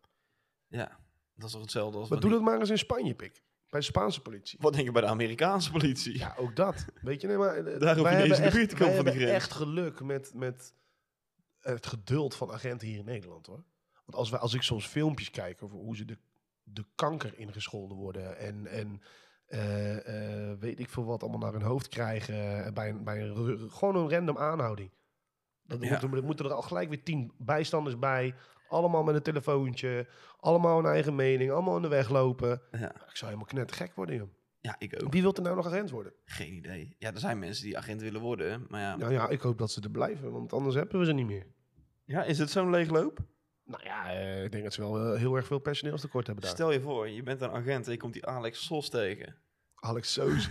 Ja, dat is toch hetzelfde als... Maar doe wanneer- dat maar eens in Spanje, pik. Bij de Spaanse politie. Wat denk je bij de Amerikaanse politie? Ja, ook dat. Weet je, nee, maar... eh, Daar hoef je niet eens in de echt- buurt te komen wij van die hebben grens. echt geluk met, met het geduld van agenten hier in Nederland, hoor. Want als, wij, als ik soms filmpjes kijk over hoe ze de, de kanker ingescholden worden en... en eh, eh, weet ik veel wat allemaal naar hun hoofd krijgen eh, bij, een- bij een, ru- gewoon een random aanhouding. Dan Ja. moeten, er moeten er al gelijk weer tien bijstanders bij. Allemaal met een telefoontje. Allemaal een eigen mening. Allemaal in de weg lopen. Ja. Ik zou helemaal knettergek worden, joh. Ja, ik ook. Wie wil er nou nog agent worden? Geen idee. Ja, er zijn mensen die agent willen worden, maar ja. Nou ja, ik hoop dat ze er blijven, want anders hebben we ze niet meer. Ja, is het zo'n leegloop? Nou ja, eh, ik denk dat ze wel eh, heel erg veel personeelstekort hebben daar. Stel je voor, je bent een agent en je komt die Alex Sos tegen. Alex Soos.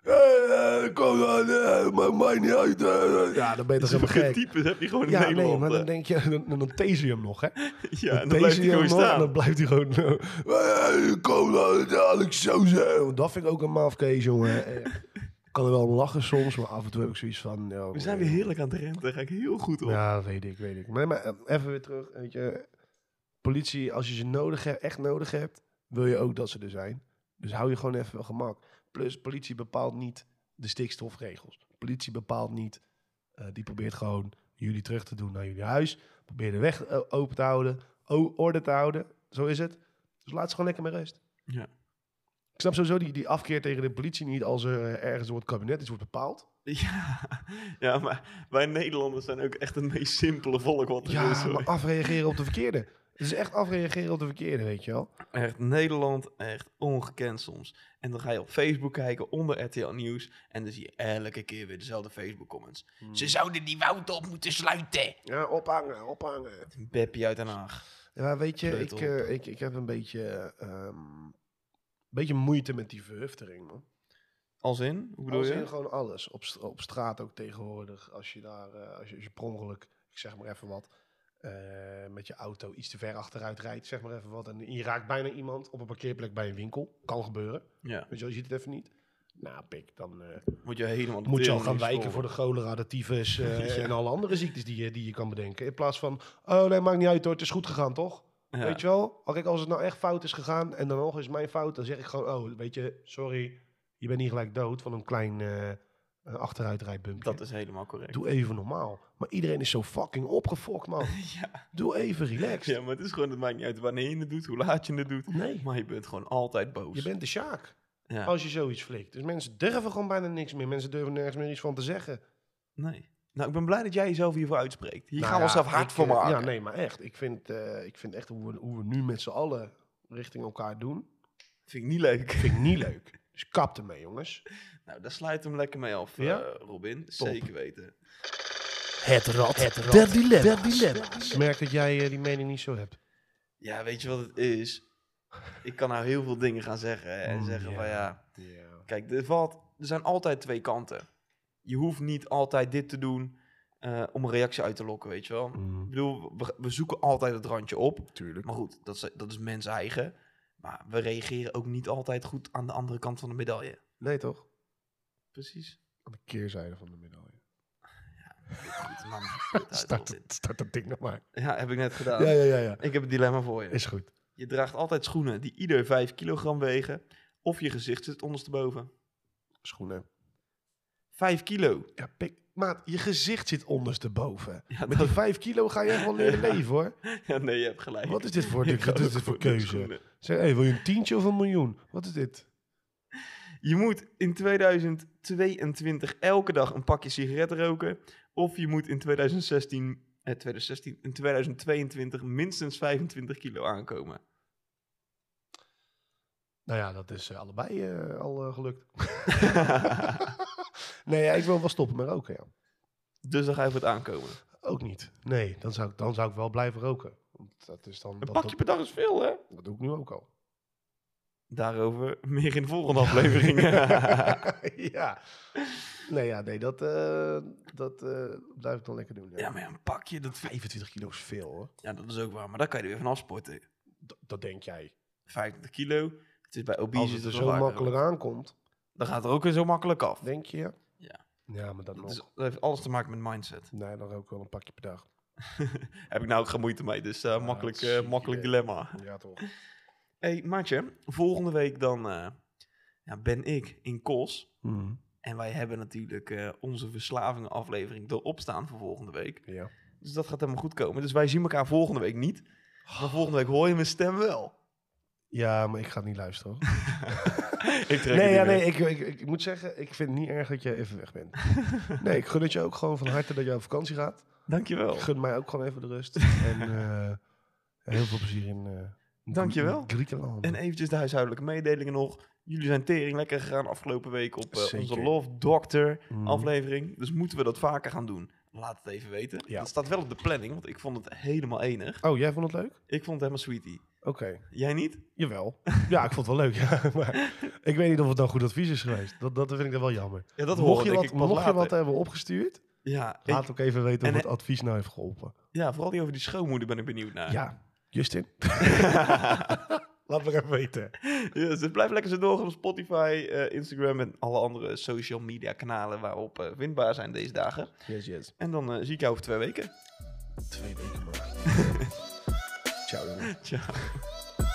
Hey, eh, kom dan, eh, maakt mij niet uit. eh. ja, dan ben je toch helemaal Zulke gek. types heb je gewoon in Ja, nee, Nederland. maar dan hè. denk je, dan, dan, dan taser je hem nog, hè? ja, en dan taser blijft hij je hem gewoon nog en dan staan. blijft hij gewoon... eh, eh, kom dan, eh, Alex Soos. eh. Want Dat vind ik ook een maf case, jongen. Eh, Ik kan er wel om lachen soms, maar af en toe heb ik zoiets van... ja, eh, We zijn weer heerlijk aan het renten, daar ga ik heel goed op. Ja, weet ik, weet ik. Nee, maar eh, even weer terug. Weet je, politie, als je ze nodig hebt, echt nodig hebt, wil je ook dat ze er zijn. Dus hou je gewoon even wel gemak. Plus, politie bepaalt niet de stikstofregels. Politie bepaalt niet. eh, die probeert gewoon jullie terug te doen naar jullie huis. Probeer de weg eh, open te houden. o- Orde te houden. Zo is het. Dus laat ze gewoon lekker met rust. Ja. Ik snap sowieso die, die afkeer tegen de politie niet als er eh, ergens door het kabinet iets wordt bepaald. Ja, ja, maar wij Nederlanders zijn ook echt het meest simpele volk wat er Ja, is. hoor. maar afreageren op de verkeerde. Het is echt afreageren op de verkeerde, weet je wel. Echt Nederland, echt ongekend soms. En dan ga je op Facebook kijken onder RTL Nieuws. En dan zie je elke keer weer dezelfde Facebook comments. Hmm. Ze zouden die wouden op moeten sluiten. Ja, ophangen, ophangen. Beppie uit Den Haag. Ja, maar weet je, ik, Sleutel. eh, ik, ik heb een beetje, ehm, beetje moeite met die verhuftering, man. Als in? Hoe bedoel Als in je? gewoon alles. Op, st- op straat ook tegenwoordig. Als je daar, eh, als, je, als je per ongeluk, ik zeg maar even wat, eh, met je auto iets te ver achteruit rijdt, zeg maar even wat. En je raakt bijna iemand op een parkeerplek bij een winkel. Kan gebeuren. Ja. Weet je, wel, je ziet het even niet. Nou, pik, dan eh, Word je helemaal... de moet je al tering gaan in wijken school. voor de cholera, de tyfus eh, en alle andere ziektes die, je- die je kan bedenken. In plaats van, oh nee, maakt niet uit hoor, het is goed gegaan toch? Ja. Weet je wel? Al Kijk, als het nou echt fout is gegaan en dan nog is mijn fout, dan zeg ik gewoon, oh, weet je, sorry, je bent niet gelijk dood van een klein eh achteruitrijbumpje. Dat is helemaal correct. Doe even normaal. Maar iedereen is zo fucking opgefokt, man. Ja. Doe even relaxed. ja, maar het is gewoon... Het maakt niet uit wanneer je het doet, hoe laat je het doet. Nee, Maar je bent gewoon altijd boos. je bent de Sjaak Ja. als je zoiets flikt. Dus mensen durven gewoon bijna niks meer. Mensen durven nergens meer iets van te zeggen. Nee. Nou, ik ben blij dat jij jezelf hiervoor uitspreekt. Hier Nou gaan we ja, zelf hard ik, voor eh, maken. Ja, nee, maar echt. Ik vind, eh, ik vind echt hoe we, hoe we nu met z'n allen richting elkaar doen, Vind ik niet leuk. vind ik niet leuk. Dus kap ermee, jongens. Nou, daar sluit hem lekker mee af, eh, Ja? Robin. Zeker weten. Het rad, het rad der dilemma's. Ik merk dat jij eh, die mening niet zo hebt. Ja, weet je wat het is? Ik kan nou heel veel dingen gaan zeggen hè, en Mm, zeggen ja. van ja... Ja. Kijk, er, valt, er zijn altijd twee kanten. Je hoeft niet altijd dit te doen eh, om een reactie uit te lokken, weet je wel. Mm. Ik bedoel, we, we zoeken altijd het randje op. tuurlijk. Maar goed, dat is, dat is mens eigen. Maar we reageren ook niet altijd goed aan de andere kant van de medaille. Nee, toch? Precies. Aan de keerzijde van de medaille. Goed, man. Kut uit, Start, Robin. het, start dat ding nog maar. Ja, heb ik net gedaan. Ja, ja, ja. ja. Ik heb een dilemma voor je. Is goed. Je draagt altijd schoenen die ieder 5 kilogram wegen. Of je gezicht zit ondersteboven. Schoenen. 5 kilo. Ja, pik. Maat, je gezicht zit ondersteboven. Ja, Met die 5 kilo ga je echt wel leren leven, hoor. Ja, nee, je hebt gelijk. Wat is dit voor, Je dit, gaat dit is ook dit voor gewoon met keuze? schoenen. Zeg, hey, wil je een tientje of een miljoen? Wat is dit? Je moet in 2022 elke dag een pakje sigaretten roken. Of je moet in 2016, eh, 2016, in 2022 minstens 25 kilo aankomen. Nou ja, dat is eh, allebei eh, al eh, gelukt. nee, ja, ik wil wel stoppen met roken, ja. dus dan ga je voor het aankomen. Ook niet. Nee, dan zou ik, dan zou ik wel blijven roken. Want dat is dan... Een dat, pakje per dag is veel, hè? dat, dat doe ik nu ook al. Daarover meer in de volgende aflevering. ja, ja. Nee, ja, nee, dat, eh, dat eh, blijf ik dan lekker doen. Ja. maar ja, een pakje, dat, vind- 25 kilo is veel, hoor. ja, dat is ook waar. Maar daar kan je er weer van afsporten. D- dat denk jij. 25 kilo. Het is dus bij Als obese het is er het zo makkelijk aankomt, Dan gaat het er ook weer zo makkelijk af. denk je? ja? Ja. Ja, maar dat Dat, nog. is, dat heeft alles te maken met mindset. Nee, dan rook ik wel een pakje per dag. Heb ik nou ook geen moeite mee, dus eh, Ja, makkelijk, dat eh, zie ik, makkelijk eh. dilemma. Ja, toch. hey, maatje, volgende week dan eh, ja, ben ik in Kos. Mhm. En wij hebben natuurlijk eh, onze verslavingenaflevering erop staan voor volgende week. Ja. Dus dat gaat helemaal goed komen. Dus wij zien elkaar volgende week niet. Maar volgende week hoor je mijn stem wel. Ja, maar ik ga het niet luisteren. hoor. ik trek het Nee, niet meer. ja, nee ik, ik, ik moet zeggen, ik vind het niet erg dat je even weg bent. Nee, ik gun het je ook gewoon van harte dat je op vakantie gaat. Dankjewel. Ik gun mij ook gewoon even de rust. En eh, heel veel plezier in eh Dankjewel. Griekenland. En eventjes de huishoudelijke mededelingen nog. Jullie zijn tering lekker gegaan afgelopen week op eh, onze Zeker. Love Doctor Mhm. aflevering. Dus moeten we dat vaker gaan doen? Laat het even weten. Ja. Dat staat wel op de planning, want ik vond het helemaal enig. Oh, jij vond het leuk? Ik vond het helemaal sweetie. Oké, Jij niet? jawel. Ja, ik vond het wel leuk. Ja. Maar ik weet niet of het dan goed advies is geweest. Dat, dat vind ik dan wel jammer. Ja, dat mocht hoor je, denk wat, ik pas mocht je later. wat hebben opgestuurd, ja, ik- laat ook even weten of en- het advies nou heeft geholpen. ja, vooral die over die schoonmoeder ben ik benieuwd naar. Ja, Justin. laat me even weten. dus het blijft lekker zo doorgaan op Spotify, eh, Instagram en alle andere social media kanalen waarop eh, vindbaar zijn deze dagen. Yes, yes. En dan eh, zie ik jou over twee weken. Twee weken maar. Ciao jongen. Ciao.